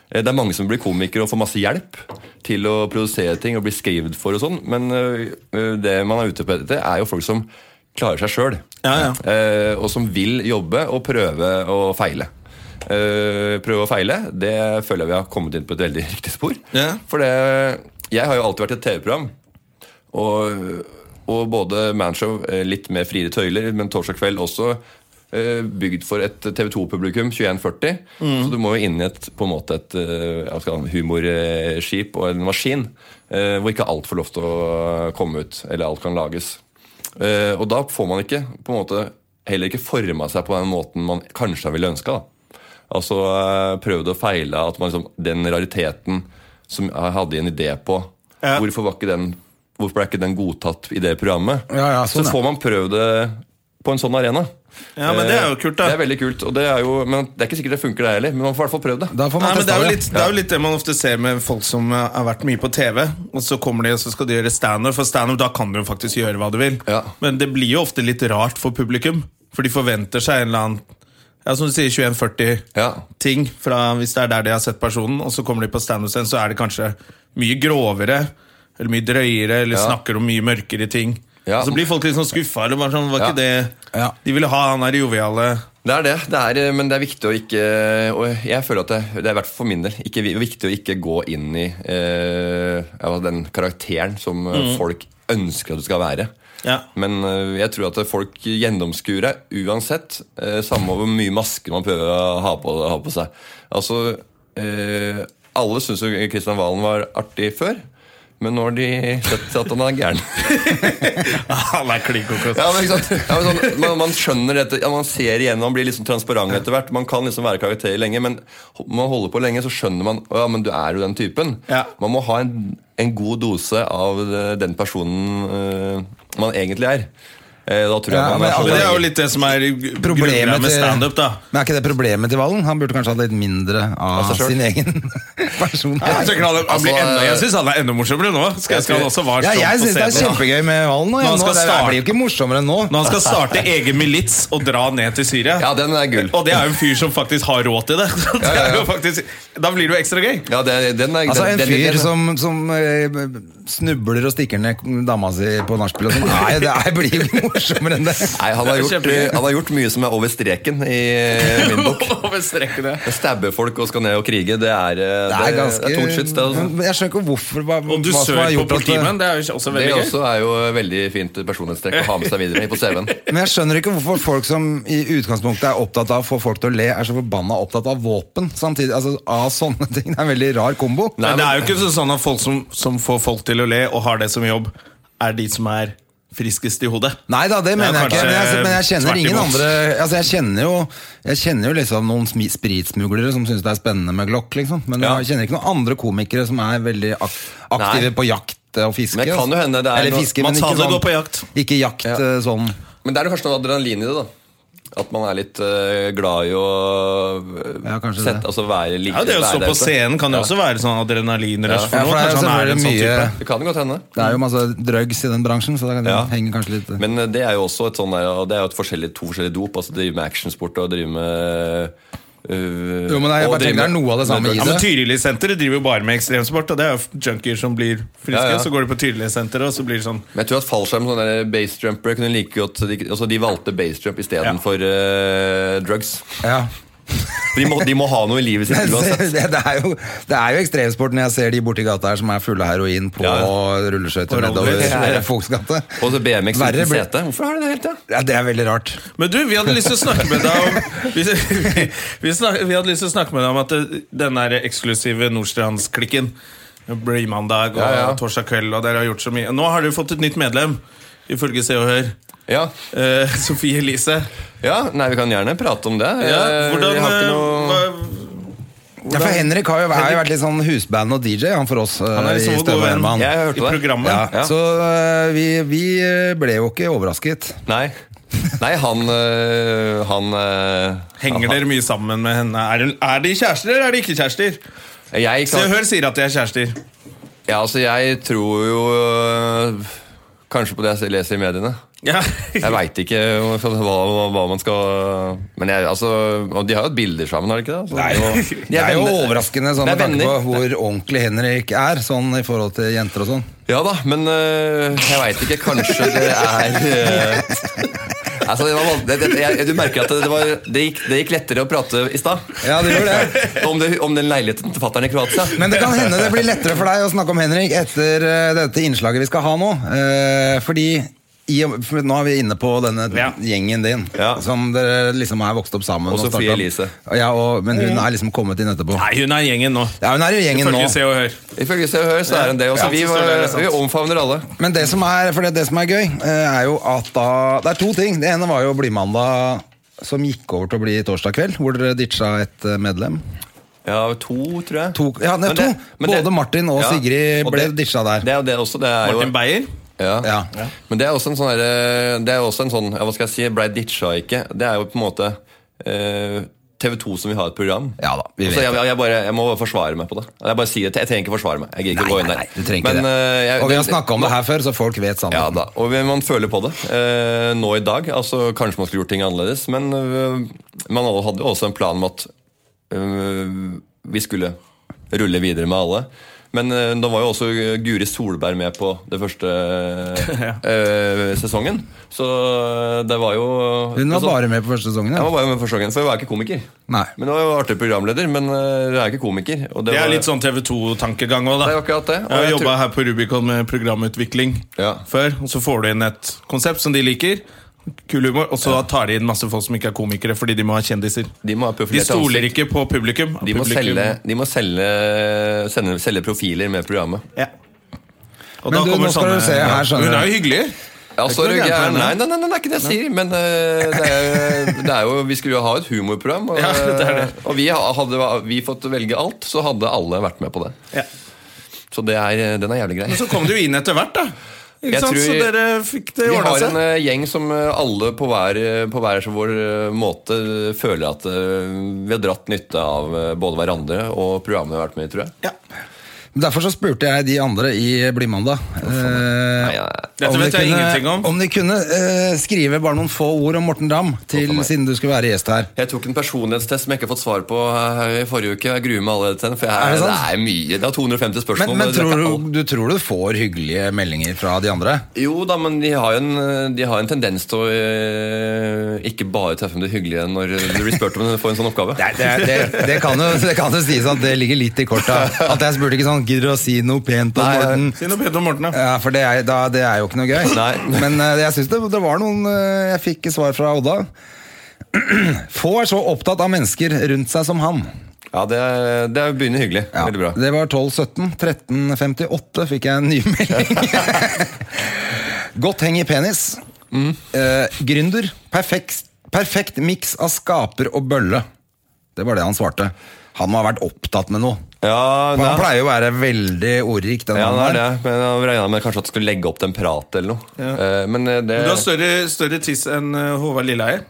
Eh, Det er mange som blir komikere og får masse hjelp til å produsere ting og bli skrevet for og sånn, men øh, øh, det man er ute på etter, er jo folk som klarer seg sjøl. Ja, ja. Eh, og som vil jobbe og prøve og feile. Eh, prøve og feile, det føler jeg vi har kommet inn på et veldig [laughs] riktig spor. Ja. For det, jeg har jo alltid vært i et TV-program. Og, og både Manshow, eh, litt med friere tøyler, men torsdag kveld også eh, bygd for et TV2-publikum, 2140. Så du må jo inn i et, på en måte et eh, hva skal jeg kalle det, humorskip og en maskin eh, hvor ikke alt får lov til å komme ut, eller alt kan lages. Eh, Og da får man ikke på en måte heller ikke forma seg på den måten man kanskje ville ønska. Altså eh, prøvd og feila at man liksom, den rariteten som jeg hadde en idé på Ja. Hvorfor var ikke den Hvorfor ble ikke den godtatt i det programmet? Ja, ja, sånn, så ja. får man prøvd det på en sånn arena. Eh, Ja, men det er jo kult, da. Det er veldig kult, og det er jo, men det er ikke sikkert det funker, det heller. Men man får i hvert fall prøvd det. Da får man Nei, men det testa er, jo det. litt, det er jo litt det man ofte ser med folk som eh, har vært mye på TV. Og så kommer de og så skal de gjøre standup, for standup da kan du jo faktisk gjøre hva du vil. Ja. Men det blir jo ofte litt rart for publikum, for de forventer seg en eller annen ja, som du sier, 2140-ting Ja. fra hvis det er der de har sett personen, og så kommer de på standup-scenen, så er det kanskje mye grovere. Eller mye drøyere, eller Ja. snakker om mye mørkere ting. Ja. Og så blir folk litt sånn skuffa. Eller bare sånn, var ikke det Ja. De ville ha han der joviale [laughs] Det er det, det er, eh, men det er viktig å ikke eh, Og jeg føler at det, det er i hvert fall for min del ikke, vi- viktig å ikke gå inn i eh, ja, den karakteren som eh, folk ønsker at du skal være. Ja. Men eh, jeg tror at folk gjennomskuer deg uansett. eh, samme hvor mye maske man prøver å ha på, ha på seg. Altså, eh, Alle syns jo Kristian Valen var artig før, men nå har de sett at han er gæren. [laughs] Han er klin kokos. Ja, men, ikke sant? Ja, men sånn, man, man skjønner dette, ja, man ser igjennom, man blir liksom transparent etter hvert. Man kan liksom være karakter lenge, men ho- man holder på lenge, så skjønner man «Å ja, men du er jo den typen. Ja. Man må ha en, en god dose av eh, den personen eh, man egentlig er. Eh, da tror jeg Ja, man men er så- Men det er jo litt det som er problemet med standup, da. Altså, Men er ikke det problemet til Valen? Han burde kanskje hatt litt mindre av Av seg selv. sin egen [laughs] person. Jeg tenker han, han blir Altså, enda, jeg syns han er enda morsommere nå. Skal jeg, skal han også Ja, være sånn jeg på syns det er scenen. kjempegøy med Valen. Nå, Når jeg, han nå, skal det starte- blir jo ikke morsommere enn nå. Når han skal starte egen milits og dra ned til Syria. Ja, den er gull. Og det er jo en fyr som faktisk har råd til det. [laughs] Så det ja, ja. er jo faktisk, da blir det jo ekstra gøy. Ja, det, den er, Altså den, En den- fyr den- som, som eh, snubler og stikker ned dama si på nachspiel og sånn. Nei, det er, blir jo ikke morsommere enn det. Nei, han har, Det er gjort, kjempegøy. han har gjort mye som er over streken i min bok. Over streken, ja. Stabbe folk og skal ned og krige, det er, eh, Det er ganske det er tungt skyts. Det, altså. Men Jeg skjønner ikke hvorfor hva, Og du hva som har søker på gjort at det- politimen. Det er jo også Det veldig gøy. også er jo veldig fint personlighetstrekk å ha med seg videre på [laughs] CV-en. Men jeg skjønner ikke hvorfor folk som i utgangspunktet er opptatt av å få folk til å le, er så forbanna opptatt av våpen samtidig. Altså av sånne ting. Det er en veldig rar kombo. Men det er jo ikke sånn- sånn at folk som, som får folk til å le og har det som jobb, er de som er friskest i hodet. Nei da, det er mener jeg ikke. Men jeg, kanskje men jeg eh, kjenner tvert ingen imot. andre Altså Jeg kjenner jo Jeg kjenner jo liksom noen smi- spritsmuglere som syns det er spennende med Glock, liksom. Men Ja. jeg kjenner ikke noen andre komikere som er veldig ak aktive Nei. på på jakt og fiske. altså. Men det kan jo hende det er Eller noe- fiske, Mats men ikke Hansen sånn går på jakt. Ikke jakt eh, sånn Men det er jo kanskje noe adrenalin i det, da. At man er litt eh, glad i å eh, Ja, kanskje sette, det. altså være like Ja, det å være stå der på ute. scenen kan jo Ja. også være sånn adrenalinrush Ja, for for det er jo noen. Kanskje han er en sånn selvfølgelig type. mye- Det kan godt hende. Det er jo masse drugs i den bransjen, så det kan Ja. henge kanskje litt Men eh, det er jo også et sånn der, og det er jo et forskjellig, to forskjellige dop. Altså drive med actionsport og drive med øh, Jo, men jeg og bare tenker drive det er med- noe av det samme i Ja, det. men Tyrilisenteret driver jo bare med ekstremsport, og det er jo junkier som blir friske. Ja, ja. Så går de på Tyrilisenteret, og så blir det sånn Men jeg tror at fallskjerm sånne der basejumpere kunne like godt de, altså de valgte basejump istedenfor øh, drugs. Ja. De må, de må ha noe i [laughs] livet sitt [laughs] uansett. Det, det, er jo, det er jo ekstremsport når jeg ser de borti gata her som er fulle av heroin på Ja, rulleskøyter På nedover rollerblades. Ja, ja. folks gate. Og så BMX Verre uten blir- sete. Hvorfor har de det hele tida? Ja, det er veldig rart. Men du, vi hadde lyst til å snakke med deg om [laughs] Vi, vi, snak, vi hadde lyst til å snakke med deg om at det- den der eksklusive Nordstrandsklikken Blymandag og Ja, ja. torsdag kveld, og dere har gjort så mye. Nå har dere fått et nytt medlem, ifølge Se og Hør. Ja. Eh, [laughs] Sofie Elise. ja, nei, vi kan gjerne prate om det. Ja, Eh, hvordan, vi har eh, ikke noe... hva- Ja, for Henrik har jo, har jo vært litt sånn husband og DJ, han for oss Han er eh, liksom i vår gode Støve venn Herman. Jeg har hørt i det. programmet. Ja, Ja. Så eh, vi, vi eh, ble jo ikke overrasket. Nei. Nei, han øh, Han øh, Henger han- dere mye sammen med henne? Er, hun- er de kjærester, eller er de ikke kjærester? Jeg Se og kan, Hør sier at de er kjærester. ja, altså, jeg tror jo øh, Kanskje på det jeg leser i mediene. Ja. [laughs] Jeg veit ikke om- hva, hva man skal Men jeg, altså, og de har jo hatt bilder sammen, har de ikke det? Altså, og- de Det er jo venner. overraskende sånn Det er med tanke på venner. hvor ordentlig Henrik er sånn i forhold til jenter og sånn. Ja da, men øh, jeg veit ikke. Kanskje det er øh, Altså, det var, van- det, det, jeg, Du merker at det, det, var, det, gikk, det gikk lettere å prate i stad. Ja, det gjorde det. [laughs] Om, det, om den leiligheten til fatter'n i Kroatia. Men det kan hende det blir lettere for deg å snakke om Henrik etter eh, dette innslaget vi skal ha nå. Eh, fordi i, og- for nå er vi inne på denne Ja. gjengen din, Ja. som dere liksom er vokst opp sammen. Og Sofie startet opp. Elise. Ja, og, men hun er liksom kommet inn etterpå. Nei, hun er gjengen nå. Ja, hun er i gjengen nå. Ifølge Se og Hør. Ifølge Se og Hør så er hun det. Og så Ja, vi, så står det, det er sant. vi omfavner alle. Men det som er, for det, det som er gøy, eh, er jo at da Det er to ting. Det ene var jo Blymandag, som gikk over til å bli torsdag kveld, hvor dere ditcha et eh, medlem. Ja, to, tror jeg. To- ja, nei, Men det- to. men det- Både Martin og Sigrid og ble det- ditcha der. Det er jo det også. Det er jo, Martin Beyer. Ja. Ja. Men det er også en sånn derre- Det er jo også en sånn ja, Hva skal jeg si? Blei ditcha ikke? Det er jo på en måte eh, TV 2 som vil ha et program. Ja da, vi Så vet jeg, jeg, bare, jeg må bare forsvare meg på det. Jeg bare sier det, til- jeg trenger ikke forsvare meg. Jeg gidder ikke Nei, gå nei, inn der. nei, du trenger ikke Men, det. eh, jeg- og vi har men- snakka om det her før, så folk vet sannheten. Ja da, og man føler på det eh, nå i dag. altså Kanskje man skulle gjort ting annerledes, men eh, man alle hadde jo også en plan om at eh, vi skulle rulle videre med alle. Men eh, da var jo også Guri Solberg med på det [laughs] første eh, sesongen. Så eh, det var jo Hun var så- bare med på første sesongen. Jeg Ja. var bare med første gangen, for jeg var ikke komiker. Nei. altså- Men jeg var jo artig programleder, men eh, jeg er ikke komiker. Og Det er var- litt sånn TV 2-tankegang òg, da. Det er jo akkurat det, Jeg og har jeg jobba tror- her på Rubicon med programutvikling Ja. før, og så får du inn et konsept som de liker. Kul humor, og så tar de inn masse folk som ikke er komikere, fordi de må ha kjendiser. De må ha De profilert stoler ansikt. ikke på publikum. De må, Publikum- selge, de må selge, sende, selge profiler med programmet. Ja. Og Men da du, kommer nå skal sånne- du se her, Ja. skjønner Hun er du. jo hyggelig. Ja, Det er ikke sorry, noe gærent gæren. med Nei, det. nei, nei, nei, det er ikke det jeg sier. Men eh, det, er, det er jo, vi skulle jo ha et humorprogram, [laughs] og, eh, Ja, det er det. og vi ha- hadde vi fått velge alt, så hadde alle vært med på det. Ja. Så det er, eh, den er jævlig grei. Men så kom du inn etter hvert, da. Ikke Jeg sant? tror- Så dere fikk det Vi ordna har seg. en eh, gjeng som eh, alle på hver, på hver vår eh, måte føler at eh, vi har dratt nytte av eh, både hverandre og programmet vi har vært med i, tror jeg. Ja. Derfor så spurte jeg de andre i Blymandag Nei, eh, nei, nei. Dette om de vet jeg kunne- ingenting om. Om de kunne eh, skrive bare noen få ord om Morten Dam, til, Å, for meg. siden du skulle være gjest her. Jeg tok en personlighetstest som jeg ikke har fått svar på eh, i forrige uke. og Jeg gruer meg allerede til den. For jeg, Er det det, sant? er mye. Det er 250 spørsmål. Men, men og det er tror ikke du, alt. du tror du får hyggelige meldinger fra de andre? Jo da, men de har jo en, eh, de har en tendens til å eh, ikke bare treffe med det hyggelige når du blir spurt om å få en sånn oppgave. Nei, det, det, det, kan jo, det kan jo sies at det ligger litt i korta. At jeg spurte ikke sånn Gidder du å si noe pent om Nei, Morten? Si noe pent om Morten, da. Ja, for det er, da, det er jo ikke noe gøy. Nei. Men eh, jeg synes det, det var noen eh, Jeg fikk svar fra Odda. [clears throat] Få er så opptatt av mennesker rundt seg som han. Ja, det, er- det er begynner hyggelig. Ja, Veldig bra. Det var 12.17. 13.58 fikk jeg en ny melding. Godt heng i penis. Eh, gründer. Perfekt, perfekt miks av skaper og bølle. Det var det han svarte. Han må ha vært opptatt med noe. Ja, For han nei. pleier jo å være veldig ordrik. Den Ja, det mannen er det. her. Men jeg regna med kanskje at du skulle legge opp til en prat eller noe. Eh, Men eh, det Du har større, større tiss enn eh, Håvard Lilleheie.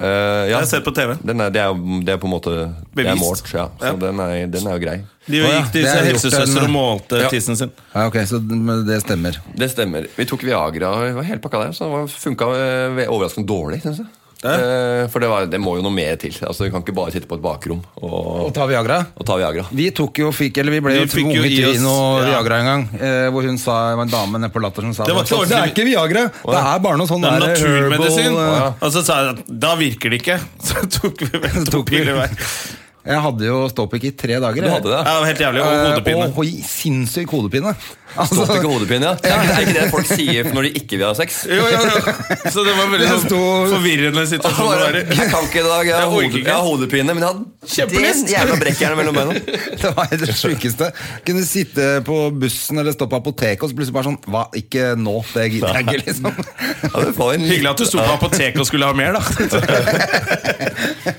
eh, ja. Jeg har sett på TV. Den er, det, er, jo- det er på en måte Det er Bevist. målt, ja. Så Ja. Den, er, den er jo grei. De Å ja, gikk til det har jeg gjort helsesøster en- og målte Ja. tissen sin. Ja, ok, så men det stemmer. Det stemmer. Vi tok Viagra og vi var helt pakka der, så det var- funka eh, overraskende dårlig. Synes jeg Eh, For det, var, det må jo noe mer til. Altså, Du kan ikke bare sitte på et bakrom og, Og ta Viagra? og ta Viagra. Vi tok jo, fikk, eller vi ble jo Vi fikk jo tvunget i til oss- noe ja. Viagra en gang. Eh, hvor hun sa, det var en dame nede på Latter som sa Det var ikke sånn, det er ordentlig- ikke Viagra, det er bare noe sånn Det er der naturmedisin. herbal, eh, Og så sa jeg at da virker det ikke. [laughs] Så tok vi vel to tok vi- piler hver. Jeg hadde jo ståpikk i tre dager. Du jeg. hadde det? Ja, det var helt jævlig. Og Eh, hodepine. Og, og sinnssyk hodepine. Altså, Stått ikke hodepine, ja. Det er ikke- det er ikke det folk sier når de ikke vil ha sex. Jo, jo, jo. [laughs] Så det var veldig Det sånn sto- forvirrende situasjon å Bare, være i. jeg kan ikke i dag. Jeg har, Jeg orker hode, ikke. jeg har hodepine, men jeg har Kjempelyst. den jævla brekkjernet mellom beina. [laughs] det var helt det sjukeste. Kunne sitte på bussen eller stå på apoteket, og så plutselig bare sånn Hva, ikke nå. Det gidder jeg ikke, [laughs] liksom. Ja, du får en Hyggelig at du sto på apoteket og skulle ha mer, da. [laughs]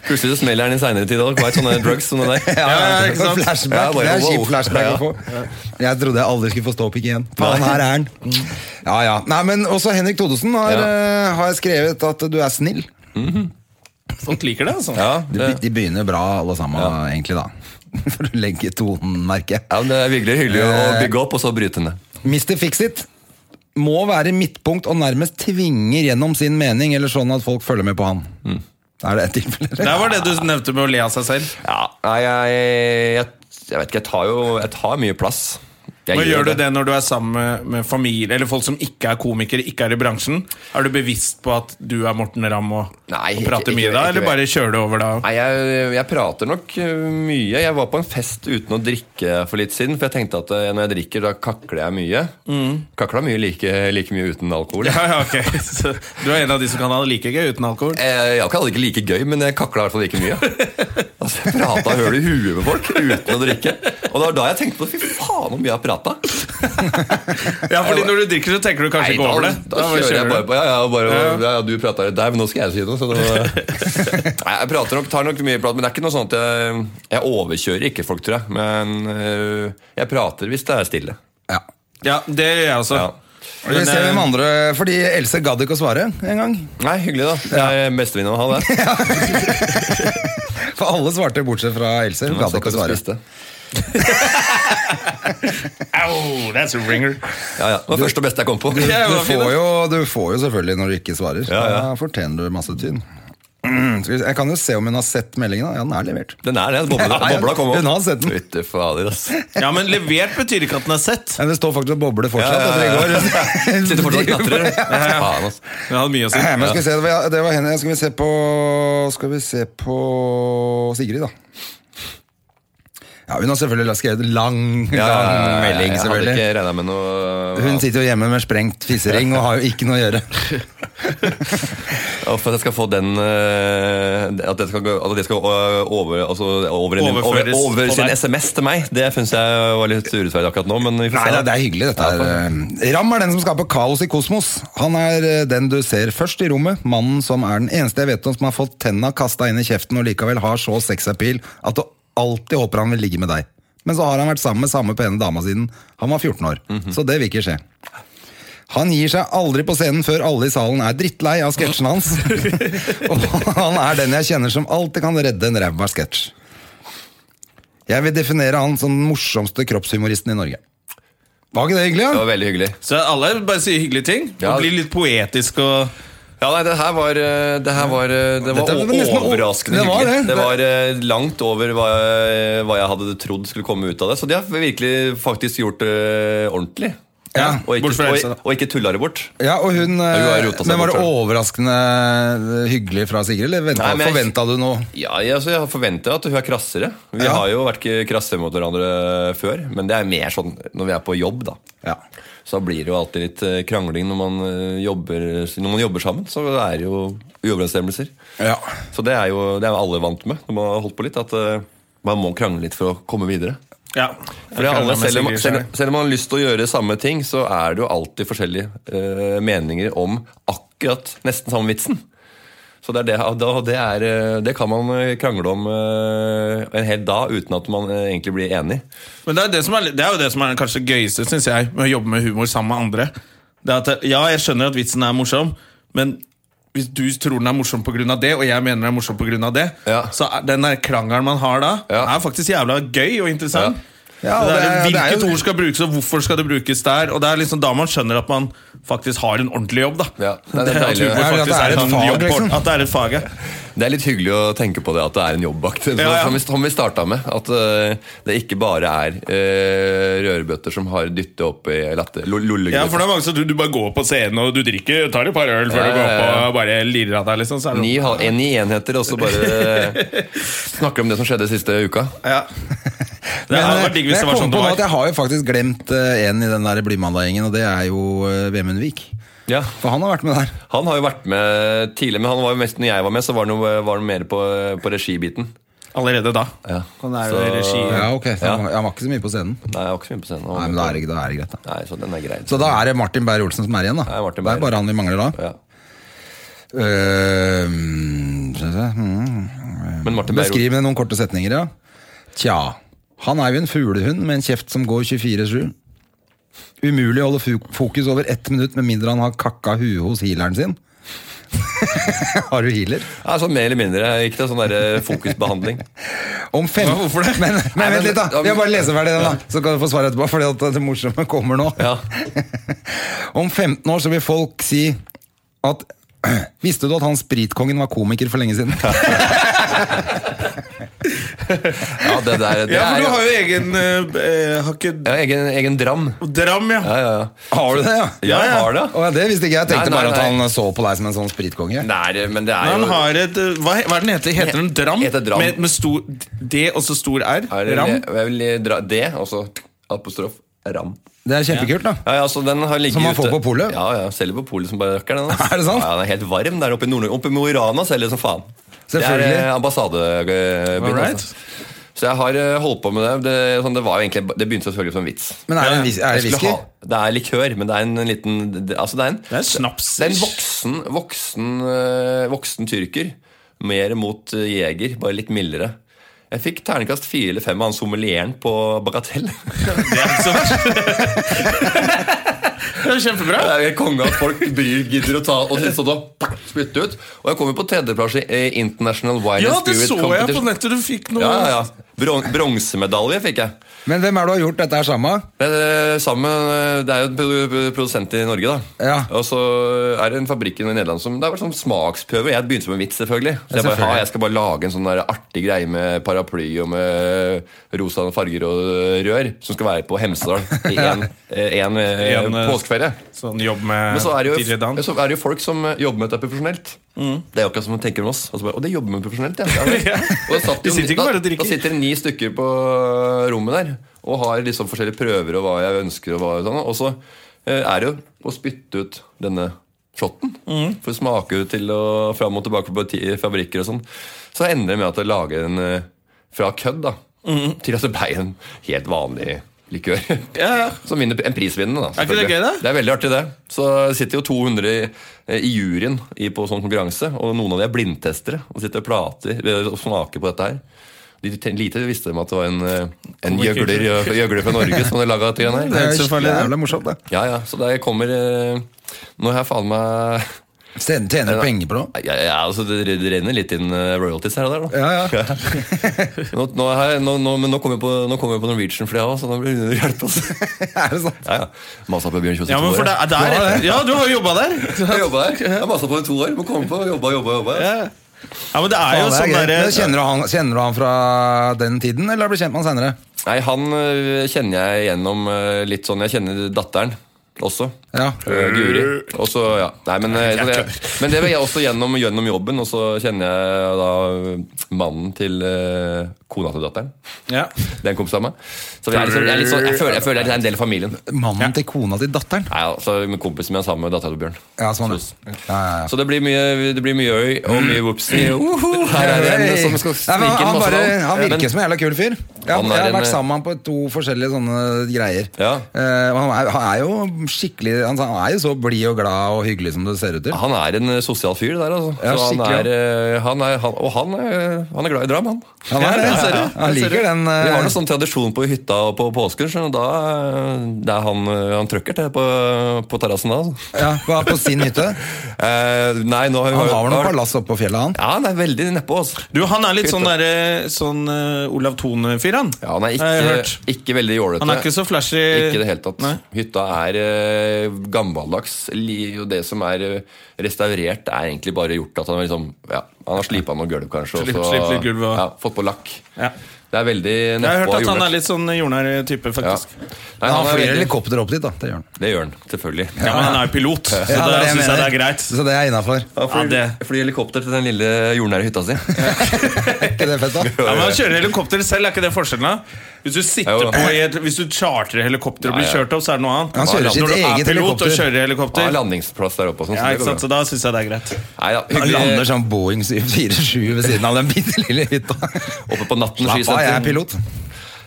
Plutselig så smeller den i seinere tid. Det var et sånne drugs som det der. Ja, [laughs] ja, ikke sant? Flashback, Ja, bare det er wow. kjip flashback Ja. å få. Jeg trodde jeg aldri skulle få ståpikk igjen. Faen, her er den. Ja, ja. Nei, men også Henrik Thodesen har, Ja. eh, har skrevet at du er snill. Folk liker det, altså. Ja, De, det, de begynner bra, alle sammen, egentlig, da. [laughs] For å legge tonen, merker jeg. ja, men det er virkelig hyggelig å Eh. bygge opp, og så bryte ned. Mr. Fixit må være midtpunkt og nærmest tvinger gjennom sin mening, eller sånn at folk følger med på han. Mm. Er det et tilfelle? Der var det du nevnte med å le av seg selv. Ja, nei, jeg, jeg, jeg vet ikke. Jeg tar jo jeg tar mye plass. Jeg Men Gjør du det når du er sammen med, med familie eller folk som ikke er komikere, ikke er i bransjen? Er du bevisst på at du er Morten Ramm og, Nei, og ikke- prater mye ikke- da, ikke eller det. bare kjører du over da? Nei, jeg, jeg prater nok øh, mye. Jeg var på en fest uten å drikke for litt siden. For jeg tenkte at øh, når jeg drikker, da kakler jeg mye. Kakla mye like, like mye uten alkohol. Mm. Ja, ja, ok [laughs] Så Du er en av de som kan ha det like gøy uten alkohol? Jeg, jeg kaller det Eh, ikke like gøy, men jeg kakla i hvert fall like [laughs] mye. Altså, Jeg prata høl i huet med folk uten å drikke. Og det var da jeg tenkte på fy faen hvor mye jeg har prata. Ja, fordi når du drikker, så tenker du kanskje Nei, ikke over det. Da, da kjører jeg du. bare på. Ja, ja, bare, ja. Ja. ja, du prata litt der, men nå skal jeg si noe. Så det var, [laughs] Nei, jeg prater nok, tar nok mye prat, men det er ikke noe sånn at jeg, jeg overkjører ikke folk, tror jeg. Men øh, jeg prater hvis det er stille. Ja. Ja, det gjør jeg også. Ja. Vi ser eh, hvem andre Fordi Else gadd ikke å svare en gang. Nei, hyggelig, da. Jeg er bestevenninna å ha [laughs] det. For alle svarte, bortsett fra Else. Hun gadd Satt ikke å og svare. spiste. Au, Oh, that's a ringer. Ja, ja. Det var første og beste jeg kom på. [laughs] Ja, det Du var fint, får, det. jo, du får jo selvfølgelig når du ikke svarer. Ja, ja. Da fortjener du masse tyn. [clears throat] Mm, skal vi se. Jeg kan jo se om hun har sett meldingen. da. Ja, den er levert. Den er det. Bobla, [laughs] Ja, ja. bobla kom opp. Hun har sett den. Fytte fader, [laughs] ass. Ja, men levert betyr ikke at den er sett. Men det står faktisk og bobler fortsatt Ja, ja, ja. etter i går. [laughs] Sitter fortsatt og [laughs] knatrer. ja. Faen, ass. Den hadde mye å si. Nei, [clears throat] Men skal vi se, det var, det var henne. Skal vi se på Skal vi se på Sigrid, da. Ja, Hun har selvfølgelig skrevet lang, lang Ja, ja, ja, ja, melding. Jeg hadde selvfølgelig ikke regna med noe Hun sitter jo hjemme med sprengt fissering og har jo ikke noe å gjøre. Og for at jeg skal få den eh, At det skal, gå- at det skal eh, over, altså, over, en, over, Overføres over på sin deg. SMS til meg, det syns jeg var litt urettferdig akkurat nå. Men vi får Nei, se. det, det er hyggelig dette her. Eh, Ram er den som skaper kaos i kosmos. Han er eh, den du ser først i rommet, mannen som er den eneste jeg vet om som har fått tenna kasta inn i kjeften og likevel har så sexappeal at du alltid håper han vil ligge med deg. Men så har han vært sammen med samme pene dama siden han var 14 år, Mhm. så det vil ikke skje. Han gir seg aldri på scenen før alle i salen er drittlei av sketsjene hans. [laughs] og [laughs] han er den jeg kjenner som alltid kan redde en ræva sketsj. Jeg vil definere han som den morsomste kroppshumoristen i Norge. Var ikke det hyggelig? Det Ja? var veldig hyggelig. Så alle bare sier hyggelige ting. Ja. Og blir litt poetisk og Ja, nei, det her var eh, Det her var, eh, det var Dette var nesten o- overraskende det var hyggelig. det. Det var eh, langt over hva jeg, hva jeg hadde trodd skulle komme ut av det. Så de har virkelig faktisk gjort det ordentlig. Ja, og bort fra ikke, Else, da. og, og ikke tulla det bort. Ja, og hun, eh, har rota seg men Var det bort, tror overraskende eh, hyggelig fra Sigrid, eller venta, Nei, men jeg- forventa du noe? Ja, jeg, altså, jeg forventer at hun er krassere. Vi Ja. har jo vært k- krasse mot hverandre før, men det er mer sånn når vi er på jobb, da. Ja. Så da blir det jo alltid litt eh, krangling når man, eh, jobber, når man jobber sammen. Så det er jo uoverensstemmelser. Ja. Så det er jo det er jo alle vant med når man har holdt på litt, at eh, man må krangle litt for å komme videre. Ja. For det er alle, selv, om, Sigrid, selv, så- selv om man har lyst til å gjøre samme ting, så er det jo alltid forskjellige eh, meninger om akkurat nesten samme vitsen. Så det, er det, og da- det, er, eh, det kan man eh, krangle om eh, en hel dag uten at man eh, egentlig blir enig. Men det er, det, som er, det er jo det som er kanskje det gøyeste, synes jeg, med å jobbe med humor sammen med andre. Det er at, det- ja, jeg skjønner at vitsen er morsom, men hvis du tror den er morsom pga. det, og jeg mener den er morsom pga. det, Ja. så er den der krangelen man har da, Ja. er faktisk jævla gøy og interessant. Ja. Ja, og det det er- er, det er hvilket jo- ord skal brukes, og hvorfor skal det brukes der? Og det er liksom da man skjønner at man faktisk har en ordentlig jobb, da. Ja, det er det er at deilig. humor Ja, at det faktisk er er et en fag, jobb, liksom. At det er et fag, ja. Det er litt hyggelig å tenke på det at det er en jobb bak det, Ja, ja. [laughs] som, vi- som vi starta med. At eh, det ikke bare er eh, rørbøtter som har dyttet opp i latter. lo- ja, Lollegrøt. for det er mange som tror du bare går på scenen og du drikker, tar et par øl før Ja, du går ja, opp ja. og bare lirer av deg, liksom. Så er det Ni, ha- en i enheter, og [laughs] så bare snakker om det som skjedde siste uka. ja. [laughs] Det Men, hadde eh, vært digg men hvis jeg det var kom sånn det på nå at var. jeg har jo faktisk glemt eh, en i den der Blymandag-gjengen, og det er jo eh, Vemund Vik. Ja. For han har vært med der. Han har jo vært med tidligere, men han var jo mest, når jeg var med, så var han, jo, var han mer på, på regibiten. Allerede da. Ja. Han er jo i regi. Ja, ok, så Ja. han, var- han var ikke så mye på scenen. Nei, jeg var ikke så mye på scenen. Han var Nei, men med da på- er det, da er det greit, da. Nei, så den er grei. Så da er det Martin Beyer-Olsen som er igjen, da. Ja, Martin det er Beyer. bare han vi mangler da. ja. Eh, skal vi se, mm. Men Martin Beyer Beskriv med noen korte setninger, ja. Tja. Han er jo en fuglehund med en kjeft som går 24-7. Umulig å holde fu- fokus over ett minutt med mindre han har kakka huet hos healeren sin. [laughs] har du healer? ja, sånn Mer eller mindre. Ikke det, sånn der fokusbehandling. Om fem... Hva, hvorfor det? Men, men Nei, men- vent litt, da. Vi har bare lese ferdig den, da. Så kan du få svar etterpå, fordi at det morsomme kommer nå. Ja. Om 15 år så vil folk si at [clears throat] Visste du at han spritkongen var komiker for lenge siden? ja, det der Ja, for du det er jo har jo egen eh, eh, Har ikke ja, egen, egen dram. Dram, ja. Ja, ja, ja. Har du det, ja? Ja, jeg har det. Å, ja, det visste ikke jeg. Jeg tenkte Nei, nei, bare at nei. han så på deg som en sånn spritkonge. Nei, men det er jo Han har et eh, Hva, hva er den heter? Heter den Dram? Heter Dram. Med, med stor D og så stor R? er det, Ram? Jeg vil dra det, og så apostrof ram. Det er kjempekult, da. Ja, ja, så den har ligget Som man får ute. på polet? Ja, ja, selger på polet som bare rakker den. altså. [laughs] Er det sant? Ja, den er helt varm der oppe i Nord-Norge. Oppe i Mo i Rana selger det som faen. Selvfølgelig. Det er eh, ambassadebyen. Alright. altså. Så jeg har eh, holdt på med det. Det, sånn, det, var jo egentlig, det begynte selvfølgelig som en vits. Men er det, en vis- er Jeg det skulle whisky? ha- Det er likør, men det er en liten det- altså det, er en, Det er snaps. det er en voksen, voksen, eh, voksen tyrker. Mer mot eh, jeger, bare litt mildere. Jeg fikk terningkast fire eller fem av han sommelieren på [laughs] Bagatell. Det er ikke så [laughs] verst. Det er jo kjempebra. Det er jo helt konge at folk bryr, gidder å ta og så da, pakk, spytte ut. Og jeg kom jo på tredjeplass i eh, International Wine Ja, and det Spirit så jeg på Competition. nettet. Du fikk noe Ja, ja, ja. Bron Bronsemedalje fikk jeg. Men hvem er det du har gjort dette her sammen med? Det er, sammen, eh, det er jo en pro- pro- produsent i Norge, da. Ja. Og så eh, er det en fabrikk i Nederland som Det har vært sånn smaksprøve. Jeg begynte som en vits, selvfølgelig. Ja, Så jeg, bare, selvfølgelig. ha, jeg skal bare lage en sånn der artig greie med paraply og med eh, rosa farger og eh, rør, som skal være på Hemsedal i [laughs] én En, eh, påskeferie. Sånn jobb med Men så er, det tidligere jo, Dan. så er det jo folk som eh, jobber med dette profesjonelt. Mm. Det er jo akkurat som man tenker om oss. Og så bare, «Å, det jobber med profesjonelt, [laughs] ja. ja. vel». Ja. Og da satt De jo- sitter ikke da- bare og drikker. Da sitter det ni stykker på eh, rommet der og har liksom forskjellige prøver og hva jeg ønsker. Og, hva, og sånn. og så eh, er det jo å spytte ut denne shotten. Mm. For det smaker jo til og fram og tilbake på ti, fabrikker og sånn. Så ender det med at jeg lager en eh, fra kødd da, til at det ble en helt vanlig likør. Mm. Ja, ja. [laughs] Som vinner en prisvinnende, da. Er ikke det selvfølgelig. gøy, da? Det er veldig artig, det. Så sitter jo 200 i, eh, i juryen i, på sånn konkurranse, og noen av de er blindtestere og sitter og prater eh, og smaker på dette her. De ten- Lite visste de at det var en, eh, en gjøgler, gjøgler fra Norge som hadde laga dette greiene Det er her. jo selvfølgelig det. jævla morsomt, det. Ja, ja, så der kommer eh, Nå har jeg faen meg Tjener tjener du penger på det? ja, ja, altså Det det renner litt inn eh, royalties her og der, da. Ja, ja. [laughs] Nå, nå, er jeg- nå, nå, men nå kommer jeg på, nå kommer jeg på Norwegian for det òg, så nå blir det hjelp. Altså. [laughs] Er det sant? Ja, ja. Masa på Bjørn Kjos i Ja, to men år, for det jeg. er der Ja, du har jo jobba der. Jeg har jobba der. Jeg har masa på det i to år. Må komme på, jobba, jobba, jobba. Ja, Ja, men det er jo Faen, det er sånn gøy. Men derre kjenner, du han, kjenner du han fra den tiden, eller har du blitt kjent med han senere? Nei, han øh, kjenner jeg gjennom øh, litt sånn Jeg kjenner datteren også. Ja. Øh, Guri. Eh. Og så, ja. Nei, men, øh, så det, men det var jeg også gjennom, gjennom jobben, og så kjenner jeg da øh, mannen til øh, kona til datteren. ja. Det er en kompis av meg. Så vi er liksom, jeg, er litt sånn- jeg, føler, jeg føler jeg er en del av familien. Mannen til kona til datteren. Nei, altså, med kompisen min er sammen med dattera til Bjørn. Ja, sånn. Så- Ja, ja, ja. Så det blir mye, det blir mye øy og mye whoopsie. Her er det en som skal Nei, Uhuh. Mm. men snike inn han, masse bare, han navn. virker Men- som en jævla kul fyr. Ja, Han er jeg har en- eh, vært sammen med han på to forskjellige sånne greier. Ja. Eh, og han, er, han er jo skikkelig Han er jo så blid og glad og hyggelig som du ser ut til. Han er en eh, sosial fyr, det der, altså. Ja, så han skikkelig, er, eh, han er, han, og han er, han er glad i dram, han. Han er det. Han liker den, eh, Vi har noen sånn tradisjon på hytta og på påsken, så da eh, det er han, eh, han trøkker til på, på terrassen da. altså. Ja, på, på sin [laughs] hytte. Eh, nei, nå har vi Han har vel noe palass oppe på fjellet, han. Ja, han er veldig nedpå, altså. Du, han er litt sånn derre sånn eh, Olav Thon-fyr, sier han. Ja, han er Har jeg hørt. ikke, ikke veldig jålete. Han er ikke så flashy. Ikke i det hele tatt. Nei. Hytta er eh, gammeldags. Li- Og det som er eh, restaurert, er egentlig bare gjort at han, er liksom, ja, han har slipa noe gulv, kanskje. og Slip- så- slip litt gulv og- ja, fått på lakk. Ja. Det er veldig Jeg har hørt at nedpå han jordnøtt. er litt sånn jordnær-type, ja. faktisk. Nei, Han han er flyr veldig, helikopter opp dit, da. Det gjør han. Det gjør han, selvfølgelig. Ja, men han er jo pilot, så Ja, da det er det jeg syns jeg det er mener. greit. Så det er [laughs] innafor. Han flyr, Ja, det- flyr helikopter til den lille jordnære hytta si. Ikke det fett, da? Ja, men Å kjøre helikopter selv, er ikke det forskjellen? da? Hvis du sitter Jo. på i et, Hvis du chartrer helikopter og blir Ja, ja. kjørt opp, så er det noe annet. Han kjører sitt Når du er eget pilot og helikopter. kjører Han helikopter, har landingsplass der oppe. og Sånn, ja, så det ikke går sant? så da syns jeg det er greit. bra. Nei, da, Han hyggelig. lander sånn Boeing 747 ved siden av den bitte lille hytta. Oppe på natten Slapp av, jeg er skisenter. pilot.